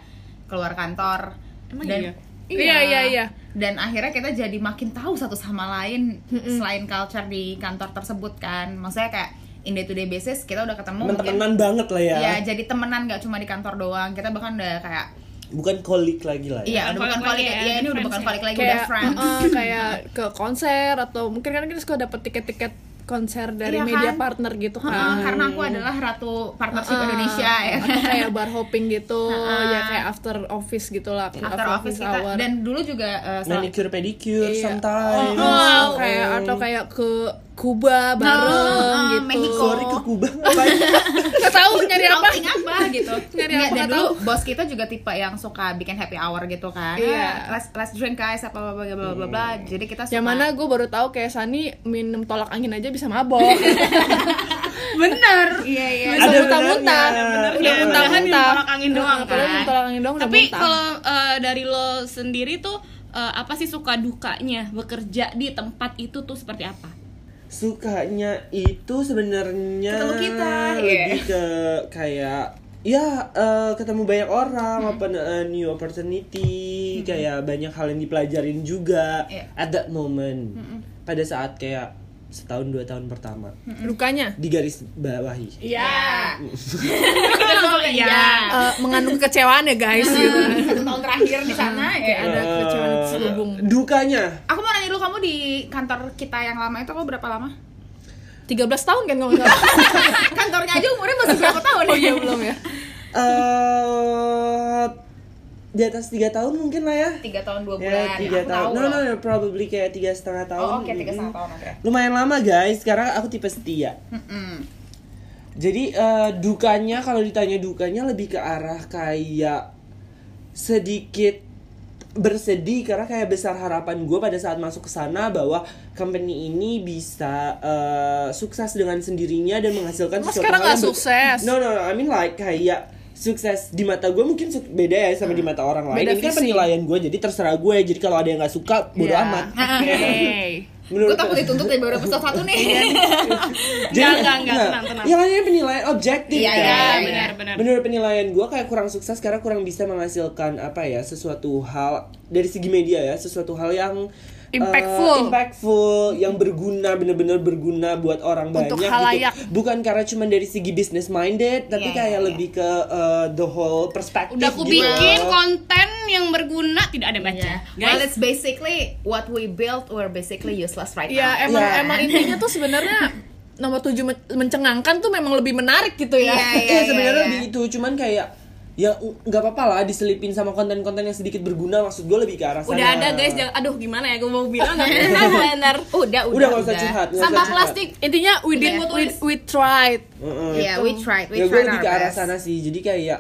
A: keluar kantor dan
E: Iya, iya, iya.
A: dan akhirnya kita jadi makin tahu satu sama lain selain culture di kantor tersebut kan maksudnya kayak in day to day basis kita udah ketemu mungkin-
B: teman-teman banget lah ya
A: ya jadi temenan nggak cuma di kantor doang kita bahkan udah kayak
B: bukan kolik lagi lah ya
A: iya udah bukan
D: balik lagi
A: kolik
D: ya,
A: ya ini udah
D: friends
A: bukan
D: ya.
A: kolik lagi udah
E: kayak
A: friends
E: eh, kayak ke konser atau mungkin kan kita suka dapat tiket-tiket konser dari
A: Iya kan?
E: media partner gitu kan
A: Heeh, karena aku adalah ratu partnership
E: Heeh.
A: Indonesia ya
E: Atau kayak bar hopping gitu ya kayak after office gitulah
A: after office kita dan dulu juga eh, salah-
B: manicure pedicure
E: Iya.
B: sometimes
E: Oh, kayak atau kayak ke Kuba
A: Oh,
E: bareng
A: Heeh,
E: gitu
A: Nah, uh, Mexico.
B: sorry ke Kuba ngapain?
E: nggak tahu nyari apa
A: Outing apa gitu
E: Nyari
A: Nggak,
E: apa,
A: dan
E: nggak
A: dulu bos kita juga tipe yang suka bikin happy hour gitu kan
E: Iya.
A: Ah, let's, let's drink guys apa bla bla bla bla
B: Hmm.
A: bla jadi kita suka
E: yang mana gue baru tahu kayak Sani minum tolak angin aja bisa mabok
D: Bener.
A: iya iya
E: bisa
B: Ada
E: muntah-muntah
B: benarnya.
E: udah
B: Iya,
E: muntah-muntah
D: Tolak angin doang
E: Padahal minum
D: kan.
E: tolak angin doang udah
D: Tapi
E: muntah.
D: kalau eh, dari lo sendiri tuh eh, apa sih suka dukanya bekerja di tempat itu tuh seperti apa?
B: sukanya itu sebenarnya
A: Ketemu kita, iya.
B: lebih ke kayak ya eh, ketemu banyak orang
A: Mm-hmm.
B: open a new opportunity kayak banyak hal yang dipelajarin juga
A: Iya.
B: at that moment pada saat kayak setahun dua tahun pertama
A: Mm.
E: lukanya
B: di garis bawahi
A: iya
D: Iya.
E: eh, mengandung kecewaan ya guys gitu
A: satu tahun terakhir di sana ya
E: ada kecewaan
B: Eh,
E: terselubung
B: dukanya
A: aku mau nanya dulu kamu di kantor kita yang lama itu kamu berapa lama
E: 13 tahun kan kalau nggak salah
A: kantornya aja umurnya masih berapa tahun
E: oh iya belum ya
B: eh di atas tiga tahun mungkin lah ya
A: tiga tahun dua bulan
B: ya tiga
A: aku
B: tahun
A: tahu
B: no,
A: loh.
B: no no probably kayak tiga setengah tahun gitu.
A: oh oke tiga
B: Mm-mm.
A: setengah tahun oke
B: lumayan lama guys sekarang aku tipe setia
A: Mm-mm.
B: jadi eh, dukanya kalau ditanya dukanya lebih ke arah kayak sedikit bersedih karena kayak besar harapan gue pada saat masuk ke sana bahwa company ini bisa eh, sukses dengan sendirinya dan menghasilkan
E: Mas
B: sesuatu
E: sekarang
B: hal yang
E: nggak
B: ber-
E: sukses.
B: No no, no, I mean like kayak sukses di mata gue mungkin su- beda ya sama di mata orang lain.
E: Hmm. Beda
B: Ini kan
E: visi.
B: penilaian gue jadi terserah gue. Jadi kalau ada yang nggak suka bodo
E: Ya.
B: amat.
D: Hey.
B: Menurut
A: gue takut dituntut dari baru episode satu
B: Iya,
A: nih
B: Jadi-
D: Enggak, enggak, enggak, tenang, tenang.
B: Ya kan ini penilaian objektif
A: Iya,
B: kan.
A: iya, iya.
D: benar, benar.
B: Menurut penilaian gue kayak kurang sukses karena kurang bisa menghasilkan apa ya sesuatu hal dari segi media ya sesuatu hal yang eh,
E: Impactful.
B: impactful yang berguna bener-bener berguna buat orang
E: Untuk
B: banyak
E: halayak.
B: gitu. Bukan karena cuma dari segi business minded tapi
A: Iya,
B: kayak
A: iya, iya.
B: lebih ke eh, the whole perspective.
D: Udah aku
B: gitu.
D: bikin konten yang berguna tidak ada baca.
A: Iya.
D: Iya.
A: Well,
D: Guys,
A: it's basically what we built. We're basically useless right
E: ya
A: now.
E: emang
B: Ya.
E: emang intinya tuh sebenarnya nomor 7 mencengangkan tuh memang lebih menarik gitu ya
A: Iya,
B: Iya sebenarnya
A: iya.
B: lebih itu cuman kayak ya u- nggak apa-apa lah diselipin sama konten-konten yang sedikit berguna maksud gue lebih ke arah sana.
D: udah ada guys, jangan aduh gimana ya gue mau bilang nggak bisa benar.
A: Udah, udah,
B: Udah, nggak usah curhat, nggak usah
D: Sampah
B: curhat.
D: plastik.
E: intinya we did
D: Intinya
E: we,
D: tulis.
E: we tried
B: Heeh.
A: Iya, we tried, we
B: ya gue
A: tried
B: lebih
A: our
B: ke arah
A: best.
B: sana sih jadi kayak ya,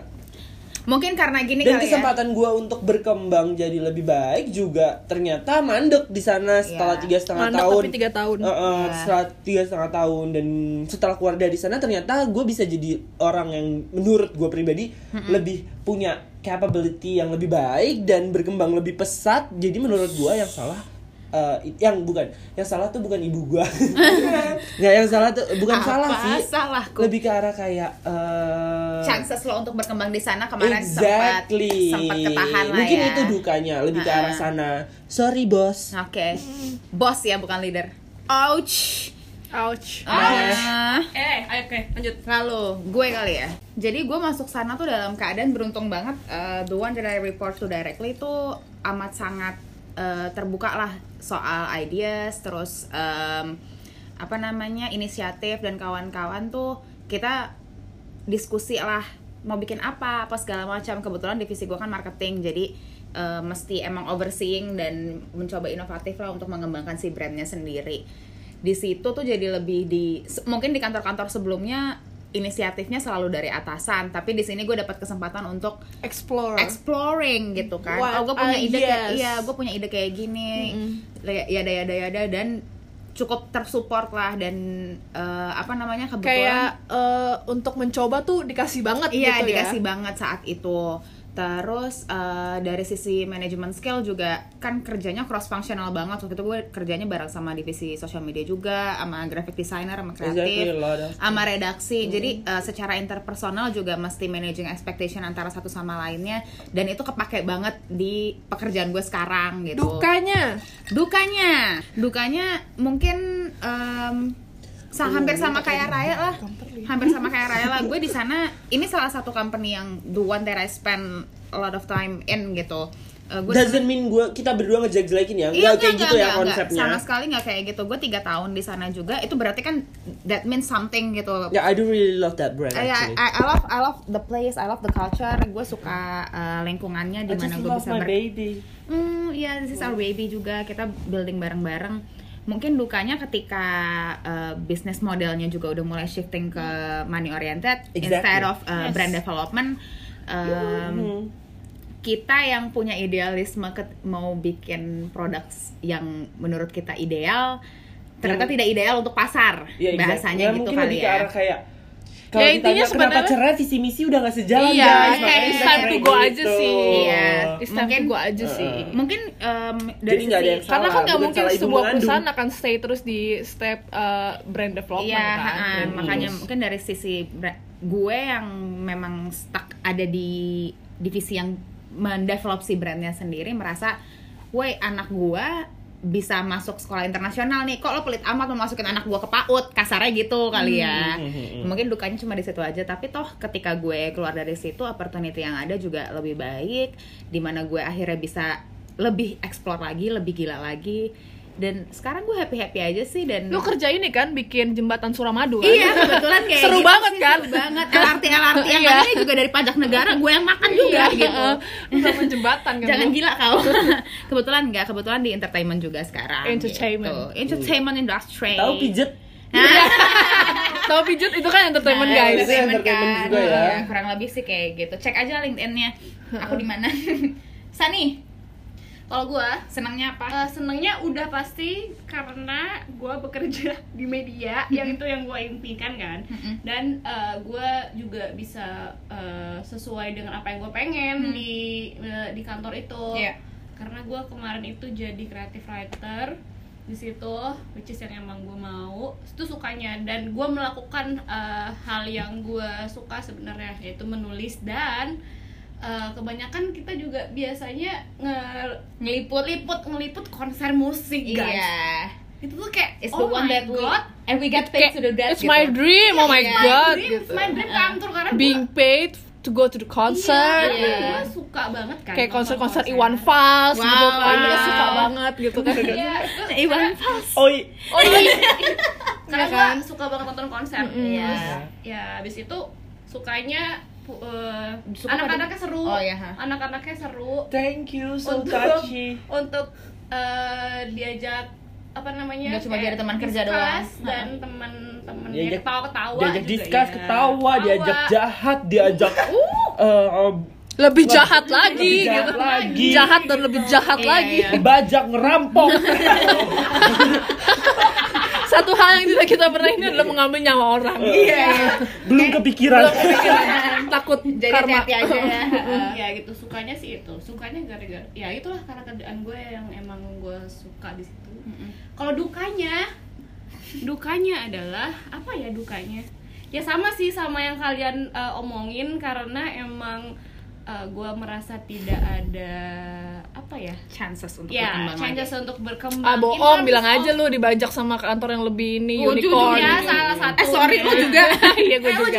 A: Mungkin karena gini
B: dan
A: kali ya.
B: kesempatan gue untuk berkembang jadi lebih baik juga ternyata mandek di sana setelah
A: Iya.
B: tiga setengah
E: Mandek
B: tahun
E: tapi tiga tahun.
B: Eh, eh,
A: Iya.
B: setelah tiga setengah tahun dan setelah keluar dari sana ternyata gue bisa jadi orang yang menurut gue pribadi lebih punya capability yang lebih baik dan berkembang lebih pesat jadi menurut gue yang salah eh, i- yang bukan yang salah tuh bukan ibu gua nggak yang salah tuh bukan
A: Apa
B: salah sih
A: salahku?
B: lebih ke arah kayak eh,
A: chances lo untuk berkembang di sana kemarin
B: exactly
A: sempat sempat ketahan lah
B: mungkin
A: ya. Nah,
B: itu dukanya lebih ke arah
A: Ha-ha.
B: sana sorry bos
A: Oke. Bos ya bukan leader. Ouch.
E: Ouch.
A: Ah.
D: eh ayo, oke lanjut
A: Lalu gue kali ya. Jadi gue masuk sana tuh dalam keadaan beruntung banget. Eh, the one that I report to directly itu amat sangat eh, terbuka lah soal ideas, terus em, apa namanya inisiatif dan kawan-kawan tuh kita diskusi lah mau bikin apa apa segala macam kebetulan divisi gue kan marketing jadi eh, mesti emang overseeing dan mencoba inovatif lah untuk mengembangkan si brandnya sendiri di situ tuh jadi lebih di se- mungkin di kantor-kantor sebelumnya inisiatifnya selalu dari atasan tapi di sini gue dapat kesempatan untuk
E: Explorer.
A: exploring gitu kan
E: What Ah,
A: oh gue punya ide kayak
E: ideas?
A: iya gue punya ide kayak gini ya yada yada yada dan cukup tersupport lah dan eh, apa namanya kebetulan
E: kayak eh, untuk mencoba tuh dikasih banget
A: Iya
E: gitu
A: dikasih
E: ya.
A: banget saat itu. Terus eh, dari sisi manajemen skill juga kan kerjanya cross functional banget. Waktu itu gue kerjanya bareng sama divisi social media juga, sama graphic designer, sama
B: Exactly,
A: kreatif,
B: a lot of- Mm-hmm.
A: sama redaksi. Jadi eh, secara interpersonal juga mesti managing expectation antara satu sama lainnya. Dan itu kepake banget di pekerjaan gue sekarang gitu.
E: Dukanya.
A: Dukanya, dukanya mungkin em, sa- hampir sama kayak Raya lah, hampir sama kayak Raya lah. Gue di sana, ini salah satu company yang the one that I spend a lot of time in gitu. Eh, gue di sana-
B: doesn't mean gua kita berdua ngejelekin ya
A: Iya,
B: nggak kayak gitu ya
A: enggak, enggak.
B: konsepnya
A: Sama sekali nggak kayak gitu. Gue tiga tahun di sana juga. Itu berarti kan that means something gitu.
B: Yeah, I do really love that brand
A: I, Iya, I,
B: Ya,
A: I
B: actually.
A: love I love the place, I love the culture. Gue suka eh, lingkungannya di mana gue bisa ber
B: baby.
A: Hmm, ya this is our
B: Iya.
A: baby juga. Kita building bareng-bareng. Mungkin dukanya ketika uh, bisnis modelnya juga udah mulai shifting ke money oriented
B: Exactly.
A: instead of uh, brand development. Um,
B: Hmm.
A: Kita yang punya idealisme ke- mau bikin produk yang menurut kita ideal ternyata tidak ideal untuk pasar.
B: Ya, exactly.
A: Bahasanya
B: Ya,
A: gitu
B: mungkin
A: kali
B: lebih
A: ya.
B: ke arah kayak kalau
E: Ya,
B: ditanya
E: intinya
B: kenapa
E: sebenarnya-
B: cerah visi misi udah gak sejalan
E: Iya,
B: guys,
E: kayak
B: makanya
E: it's time to
B: kayak gitu.
E: go aja sih.
A: Iya.
E: It's time
A: Mungkin-
E: to go aja sih.
A: Mungkin um, dari
B: Jadi nggak ada
A: sisi-
B: yang salah.
E: Karena kan nggak
B: bukan
E: mungkin
B: salah ibu
E: sebuah
B: mengandung.
E: perusahaan akan stay terus di step eh, brand development
A: Iya,
E: kan.
A: ha-ha.
E: Brand
A: makanya
E: terus.
A: mungkin dari sisi bra- gue yang memang stuck ada di divisi yang mendevelop si brandnya sendiri merasa, woi anak gue bisa masuk sekolah internasional nih kok lo pelit amat mau masukin anak gue ke PAUD kasarnya gitu kali ya
E: Hmm,
A: mungkin dukanya cuma di situ aja tapi toh ketika gue keluar dari situ opportunity yang ada juga lebih baik dimana gue akhirnya bisa lebih explore lagi lebih gila lagi dan sekarang gue happy happy aja sih dan
E: Lu kerja ini kan bikin jembatan Suramadu kan?
A: Iya kebetulan kayak
E: Seru
A: gitu
E: banget
A: sih,
E: kan?
A: Seru banget LRT LRT yang
E: Iya.
A: katanya juga dari pajak negara gue yang makan juga gitu
E: Bangun jembatan kan.
A: Jangan
E: lu?
A: gila kau Kebetulan enggak, kebetulan di entertainment juga sekarang
E: Entertainment.
A: gitu. Entertainment industry Nah,
B: Tahu pijet
E: Tahu pijut itu kan entertainment
A: Nah, entertainment
E: guys.
B: Itu entertainment
A: kan.
B: juga ya.
A: Iya, Kurang lebih sih kayak gitu Cek aja LinkedIn-nya Aku di mana Sani,
D: kalau gua
A: senangnya
D: eh,
A: apa?
D: senengnya udah pasti karena gua bekerja di media yang itu yang gua impikan kan
A: Mm-mm.
D: dan eh, gua juga bisa eh, sesuai dengan apa yang gua pengen di eh, di kantor itu
A: Iya.
D: karena gua kemarin itu jadi creative writer di situ which is yang emang gua mau itu sukanya dan gua melakukan eh, hal yang gua suka sebenarnya yaitu menulis dan eh, kebanyakan kita juga biasanya nge- ngeliput-liput ngeliput konser musik guys
A: Iya
D: itu tuh kayak
A: It's
D: oh
A: the one
D: my
A: that we
D: god
A: And we get paid to do that
E: It's my
A: gitu.
E: dream, oh my
D: my
E: god.
D: dream,
E: gitu.
D: my dream kantor karena gua-
E: Being paid to go to the concert.
D: Iya,
E: gitu.
D: gua suka banget kan
E: Kayak
D: nonton
E: konser-konser Iwan Fals gitu
A: Iya, Wow. iya.
E: kan. Dia suka banget gitu kan.
D: Iya, itu-
A: Iwan
D: karena-
A: Fals ya
B: oh i-
E: Oh iya.
D: karena
E: Iya
D: gua
E: kan?
D: suka banget nonton konser
A: Iya.
D: Terus, ya abis itu sukanya pu- eh,
A: Suka
D: anak-anaknya seru
A: Oh, iya, ha.
D: anak-anaknya seru
B: thank you so
D: Untuk-
B: touchy
D: untuk eh, diajak apa namanya
A: Nggak cuma
D: kayak
A: jadi teman kerja
D: discuss
A: doang.
D: dan teman-teman
B: Diajak-
D: yang ketawa-ketawa
B: diajak
D: juga
B: discuss
D: ya.
B: ketawa diajak jahat diajak eh, eh,
E: Lebih jahat lagi
D: Iya,
B: Lebih jahat
E: gitu.
B: lagi.
E: Jahat dan
D: Gitu.
E: lebih jahat
A: Iya,
E: lagi.
A: iya.
B: dibajak ngerampok
E: satu hal yang tidak kita pernah ini adalah mengambil nyawa orang
A: Iya.
B: belum kepikiran
E: takut
A: Jadi
E: karma
A: hati-hati aja ya.
D: ya gitu sukanya sih itu sukanya gara-gara ya itulah karena kerjaan gue yang emang gue suka di situ kalau dukanya dukanya adalah apa ya dukanya ya sama sih sama yang kalian eh, omongin karena emang eh, gue merasa tidak ada apa ya
A: Chances untuk
D: ya
A: berkembang
D: chances untuk berkembang
E: ah
D: In
E: bohong
D: terms
E: bilang
D: of-
E: aja lu dibajak sama kantor yang lebih ini
A: Oh,
E: unicorn gitu.
D: ujungnya ya, salah satu
A: lagi. Eh sorry lo juga.
E: iya gue juga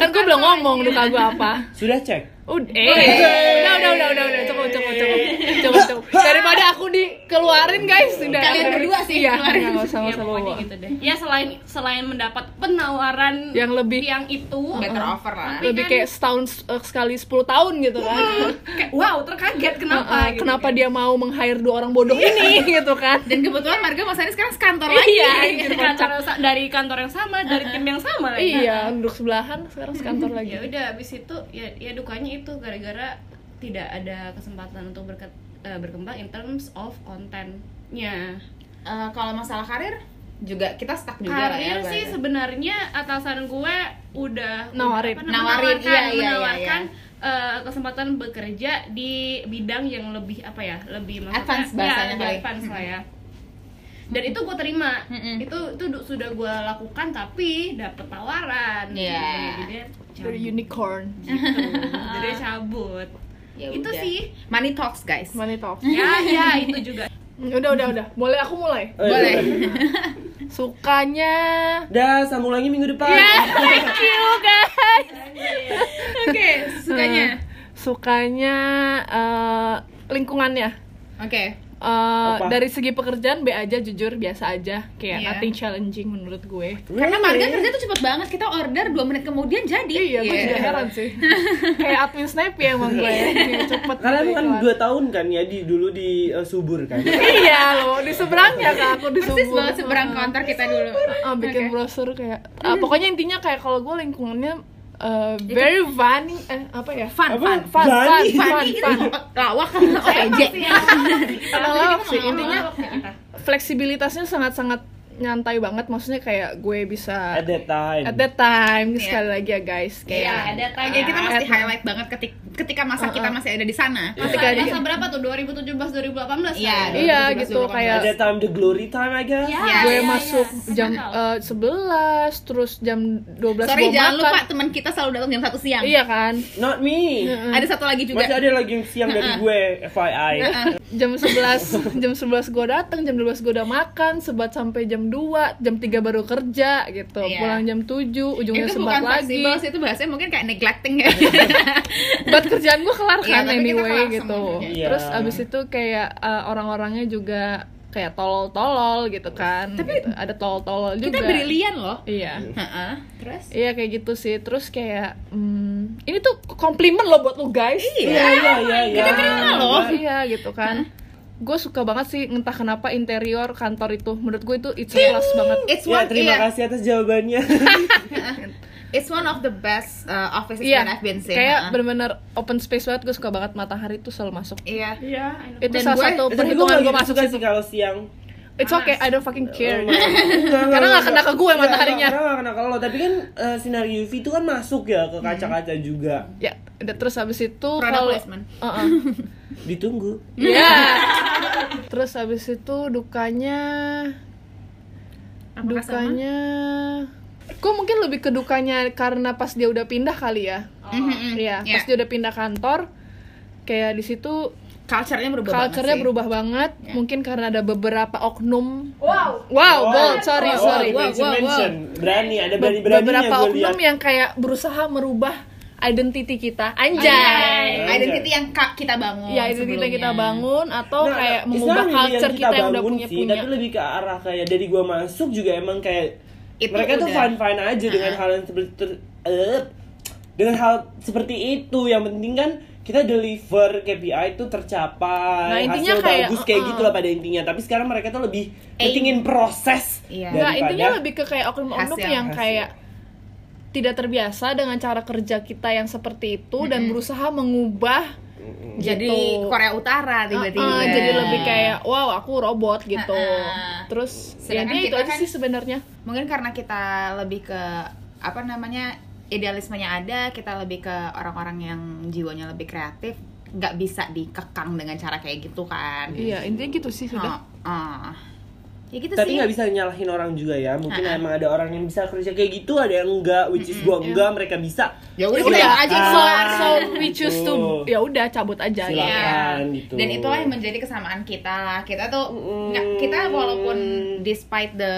E: kan gue belum ngomong duka gue apa
B: sudah cek
E: Udah,
D: Oh, iya.
E: eh, udah, udah, udah, udah, udah, cukup, cukup, cukup, cukup, cukup. Daripada aku dikeluarin guys, udah.
A: Kalian berdua sih
E: iya,
A: keluarin.
E: nggak usah,
D: ya
E: nggak usah
D: pokoknya
E: bawa.
D: gitu deh ya selain selain mendapat penawaran
E: Yang lebih- Oh,
D: yang itu
A: Better offer lah.
D: Tapi
E: Lebih
D: kan-
E: kayak setahun eh, sekali 10 tahun gitu kan.
D: kayak wow terkaget kenapa
E: Kenapa,
D: gitu. Iya.
E: kenapa dia mau meng-hire dua orang bodoh ini gitu kan?
A: Dan kebetulan Marga Mas Anies sekarang sekantor lagi.
E: Iya,
D: Dari kantor yang sa- gitu, dari kantor yang sama dari tim yang sama lagi
E: iya, duduk sebelahan sekarang sekantor
D: ya
E: lagi.
D: udah abis itu ya, ya dukanya itu gara-gara tidak ada kesempatan untuk berke- eh, berkembang in terms of kontennya
A: Eh, kalau masalah karir juga kita stuck juga lah
D: karir
A: ya. Bang.
D: sih sebenarnya atasan gue udah
E: Nawarin.
D: udah apa namanya,
A: Nawarin, iya,
D: menawarkan,
A: iya, iya,
D: menawarkan, eh, kesempatan bekerja di bidang yang lebih apa ya lebih maksudnya
A: Advance
D: ya,
A: bahasanya
D: lebih
A: kali.
D: advance lah ya dan itu gue terima
A: Mm-mm.
D: itu itu du- sudah gue lakukan tapi dapet tawaran
A: Iya.
D: jadi dia
E: Dari
D: cabut
E: unicorn.
D: gitu. jadi dia cabut
A: Ya
D: itu
A: udah.
D: sih
A: Money talks guys.
E: Money talk.
D: ya ya itu juga
E: Udah, udah, udah. Boleh aku mulai?
B: Eh,
A: Boleh.
E: Sukanya
B: dah sambung lagi minggu depan
A: Oke, sukanya.
E: sukanya eh, lingkungannya
A: Oke.
E: Eh, dari segi pekerjaan B aja jujur biasa aja kayak
A: Iya.
E: nothing challenging menurut gue
A: Karena Marga
B: Really?
A: kerja tuh cepet banget. Kita order 2 menit kemudian jadi.
E: iya gue
A: Iya.
E: juga heran sih kayak admin snap ya emang gue Iya, cepet
B: kalian
E: gitu
B: kan
E: iklan.
B: dua tahun kan ya di dulu di eh, subur kan
E: iya loh di seberangnya kak aku di
A: Persis
E: Subur.
A: banget seberang kantor kita dulu. Oh,
E: Ah, bikin
A: Oke.
E: brosur kayak ah, pokoknya intinya kayak kalau gue lingkungannya eh, very funny eh, apa ya
A: Fun,
B: Apa?
A: fun. gitu.
E: fun fun
B: Funny?
E: fun
A: Fani kita
E: fun
A: lawak kan OPJ.
E: Kalau sih intinya
D: Kalau waktu kita
E: fleksibilitasnya sangat-sangat nyantai banget maksudnya kayak gue bisa
B: at that time
E: at that
A: Iya.
E: time sekali lagi ya guys kayak
D: ya ada
A: Ya,
D: tanya
A: kita mesti highlight banget ketik- ketika masa kita masih ada di sana.
E: ketika di-
D: masa berapa tuh 2017 2018
A: Iya,
D: kan?
E: gitu. iya
A: 2017,
E: gitu
A: 2018.
E: kayak
B: at that time the glory time I guess
D: Iya,
E: gue
D: iya, iya.
E: masuk jam
D: Tahu.
E: eh, 11 terus jam 12
A: Sorry
E: gue
A: jangan
E: makan.
A: lupa teman kita selalu datang jam 1 siang.
E: iya kan
B: not me
A: Ada satu lagi juga.
B: masih ada lagi yang siang dari gue FYI
E: jam 11 jam 11 gue datang jam 12 gue udah makan sebat sampai jam 2 jam 3 baru kerja gitu
A: Iya.
E: pulang jam 7 ujungnya
A: itu bukan
E: sebat lagi Iya.
A: fleksibel sih, itu bahasanya mungkin kayak neglecting ya.
E: buat kerjaan gue kelar
A: Iya,
E: kan
A: tapi kita
E: anyway
A: kelar
E: gitu
A: semua kerjaan.
B: Iya.
E: terus abis itu kayak eh, orang-orangnya juga kayak tolol-tolol gitu kan tapi ada tolol-tolol
A: kita
E: juga
A: brilian loh.
E: iya
A: Heeh.
D: terus
E: iya kayak gitu sih terus kayak hmm, ini tuh komplimen loh buat lu guys
B: iya iya iya
A: Kita
B: iya.
A: terima loh.
E: iya gitu kan gue suka banget sih entah kenapa interior kantor itu menurut gue itu it's a plus banget
A: It's
B: Ya,
A: one
B: terima
A: iya.
B: kasih atas jawabannya.
A: It's one of the best uh, offices
E: iya
A: that I've been seen.
E: kayak
A: heeh.
E: bener-bener open space banget gue suka banget matahari tuh selalu masuk
A: Iya.
D: iya
E: itu
A: Dan
E: salah
A: gue-
E: satu
B: Tapi gue
E: perhitungan
B: nggak
E: gue
B: gitu
E: masuk
B: suka
E: situ
B: sih kalau siang.
E: It's okay, I don't fucking care. Karena
B: Oh Karena
E: nggak kena ke gue mataharinya.
B: Karena nggak kena ke lo, tapi kan eh, sinar UV itu kan masuk ya
E: Hmm.
B: ke kaca-kaca juga.
E: Ya, udah terus habis itu
A: Product
E: kalau
A: placement.
E: Heeh.
B: Ditunggu.
E: Iya. Terus habis itu dukanya
A: Apakah sama?
E: dukanya Gue mungkin lebih ke dukanya karena pas dia udah pindah kali ya.
A: Mhm, mhm.
E: Iya,
A: Iya.
E: pas dia udah pindah kantor kayak di situ
A: Culture-nya berubah banget
E: culture-nya
A: sih. Iya.
E: berubah banget, mungkin karena ada beberapa oknum.
D: wow
E: Wow, bold, sorry,
B: Oh,
E: sorry.
A: wow,
B: mention,
A: wow, wow.
B: mention. Berani, ada
E: Be-
B: berani-beraninya
E: beberapa
B: gue
E: oknum
B: lihat.
E: yang kayak berusaha merubah identity kita. Anjay. Iya.
A: Anjay. Iya. Identity yang ka- kita bangun.
E: ya itu kita
A: sebelumnya.
E: kita bangun atau
B: Nah,
E: kayak
B: it's
E: mengubah
B: not really
E: culture kita, yang udah
B: bangun
E: punya
B: sih,
E: punya
B: Tapi lebih ke arah kayak dari gua masuk juga emang kayak
A: Itu
B: mereka tuh
A: udah.
B: fine fine aja dengan hal yang seperti ter- eh, dengan hal seperti itu yang penting kan kita deliver KPI itu tercapai
E: Nah, intinya
B: hasil
E: kayak,
B: bagus kayak
E: uh-uh.
B: gitu lah pada intinya tapi sekarang mereka tuh lebih pentingin proses
A: Iya.
E: nggak
B: daripada
E: intinya lebih ke kayak oknum-oknum
A: Hasil,
E: yang
B: hasil.
E: kayak tidak terbiasa dengan cara kerja kita yang seperti itu dan berusaha mengubah
B: Mm-mm.
A: jadi
E: Gitu.
A: Korea Utara tiba-tiba
E: Ah, ah, jadi lebih kayak wow aku robot gitu
A: Ah, ah.
E: terus ya
A: Sedangkan
E: dia itu
A: kita
E: aja
A: kan-
E: sih sebenarnya
A: mungkin karena kita lebih ke apa namanya idealismenya ada kita lebih ke orang-orang yang jiwanya lebih kreatif nggak bisa dikekang dengan cara kayak gitu kan
E: iya intinya gitu sih sudah
A: Ah, ah. ya gitu
B: tapi
A: sih
B: nggak bisa nyalahin orang juga ya mungkin
E: Uh-uh.
A: Ha-ha.
B: emang ada orang yang bisa kerja kayak gitu ada yang enggak which is gua enggak mereka bisa
A: ya udah Ah.
E: Udah,
A: kita aja
E: so,
A: keluar
E: so we choose to
B: Gitu.
E: ya udah cabut aja
A: Iya.
E: ya
B: Silakan, gitu.
A: Dan itulah yang menjadi kesamaan kita lah. Kita tuh
B: Mm.
A: nggak kita walaupun despite the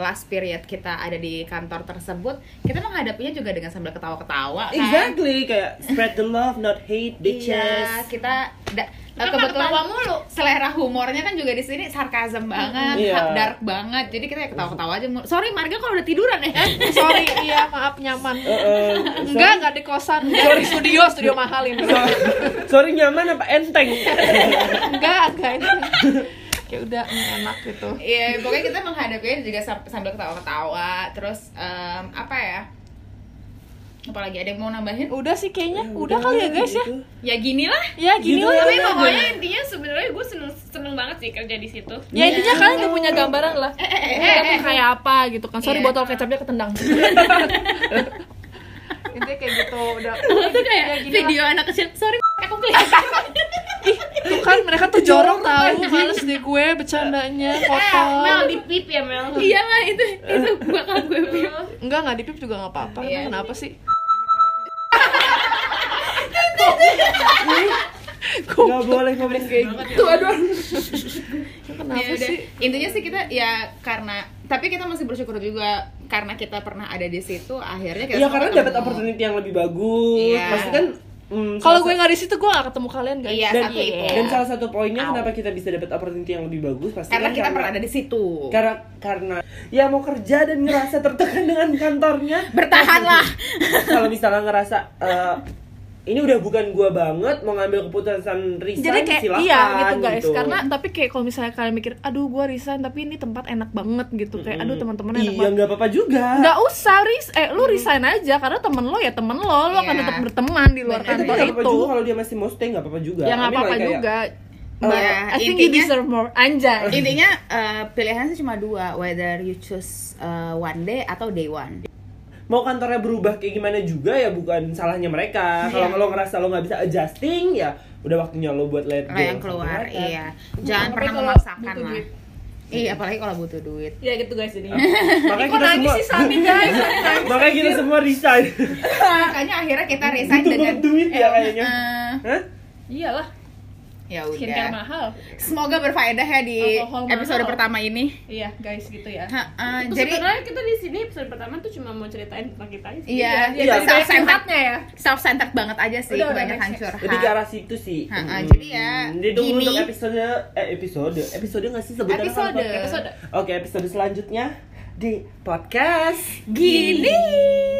A: last period kita ada di kantor tersebut, kita menghadapinya juga dengan sambil ketawa-ketawa kan.
B: exactly kayak spread the love not hate bitches
A: Iya, kita da- eh,
D: Kita
A: kebetulan
D: ketawa mulu.
A: selera humornya kan juga di sini sarkasm banget,
B: Iya.
A: dark banget. Jadi kita ya ketawa-ketawa aja. mulu. Sorry Marga kalau udah tiduran ya.
E: Eh, sorry iya maaf nyaman
B: Eh,
E: enggak enggak di kosan enggak di studio studio mahal ini
B: sorry nyaman apa enteng
E: enggak enggak ini ya udah mm, enak gitu
A: Iya, pokoknya kita menghadapinya juga sam- sambil ketawa-ketawa. Terus em, apa ya? Apalagi ada yang mau nambahin?
E: udah sih kayaknya udah kali ya guys ya
B: Gitu.
A: Ya ginilah.
E: ya gini
B: Gitu
E: lah
B: ya.
D: tapi pokoknya intinya sebenarnya gue seneng seneng banget sih kerja di situ
E: ya intinya kalian udah punya gambaran lah kita tuh kayak apa gitu kan sorry
A: Iya.
E: botol kecapnya ketendang intinya kayak gitu udah
D: itu kayak video anak kecil sorry aku kelihatan
E: tuh kan mereka tuh jorok tahu males deh gue bercandanya
D: Mel
E: kotor
D: di pip ya Mel
A: Iyalah itu itu bakal gue
D: Aduh.
E: enggak nggak dipip juga nggak apa-apa
A: Iya.
E: Emang kenapa sih
B: nggak boleh komen kayak gitu
E: kenapa
A: Ya udah.
E: sih
A: Intinya sih kita ya karena tapi kita masih bersyukur juga karena kita pernah ada di situ akhirnya kita
B: ya
A: semua
B: karena
A: ketemu.
B: dapat opportunity yang lebih bagus
A: Iya.
B: pasti kan mm,
E: kalau gue
B: salah
E: nggak di situ gue nggak ketemu kalian guys
A: Iya,
B: kan? dan,
A: satu itu.
B: dan salah satu poinnya kenapa kita bisa dapat opportunity yang lebih bagus pasti
A: karena
B: kan
A: kita pernah ada di situ.
B: karena karena ya mau kerja dan ngerasa tertekan dengan kantornya
A: Bertahanlah.
B: kalau misalnya ngerasa eh, ini udah bukan gua banget mau ngambil keputusan resign
E: jadi kayak
B: silakan
E: iya gitu guys karena tapi kayak kalau misalnya kalian mikir aduh gue resign tapi ini tempat enak banget gitu kayak aduh teman-teman
B: iya
E: enak banget
B: nggak apa-apa juga
E: nggak usah ris eh lu resign aja karena temen lo ya temen lo lo akan
A: Iya.
E: tetap berteman di luar
A: Bener.
B: Eh, tapi
E: kantor
B: nggak apa-apa
E: itu
B: juga kalau dia masih mau stay nggak apa-apa juga
E: ya nggak
B: I mean,
E: apa-apa
B: like, kayak,
E: juga
A: Nah,
E: I think you
A: intinya
E: deserve more anjay
A: intinya eh, pilihannya sih cuma dua, whether you choose eh, one day atau day one.
B: mau kantornya berubah kayak gimana juga ya bukan salahnya mereka kalau
E: Iya.
B: lo ngerasa lo nggak bisa adjusting ya udah waktunya lo buat let
A: Lah
B: go
A: yang keluar,
B: Silakan.
A: iya. Jangan
E: Apalagi
A: pernah
E: kalau
A: memaksakan
E: butuh
A: lah.
E: duit.
A: Iya, apalagi kalau butuh duit.
E: ya gitu guys jadi
B: makanya kita semua
E: Sami guys
B: makanya kita semua resign
A: Makanya akhirnya kita resign
B: Butuh
A: dengan
B: banget duit ya kayaknya.
A: Eh,
B: Hah?
C: iyalah
A: ya
C: skincare
A: udah.
C: mahal
A: Semoga berfaedah ya di
C: Alkohol mahal.
A: episode pertama ini.
C: iya guys gitu ya
A: Heeh,
D: Terus
A: jadi
D: sebenarnya kita di sini episode pertama tuh cuma mau ceritain tentang kita aja sih.
A: Iya,
B: Iya,
A: jadi
B: iya.
A: self centered ya. Self centered banget aja sih,
C: Udah, udah,
A: banyak
C: next,
A: hancur.
B: lebih ke arah situ sih
A: Ha, ha,
B: Hmm.
A: jadi ya,
B: ditunggu
A: gini.
B: untuk episode eh episode episode nggak sih sebutannya kalau
A: Episode.
B: podcast? oke episode selanjutnya di podcast
A: Gini.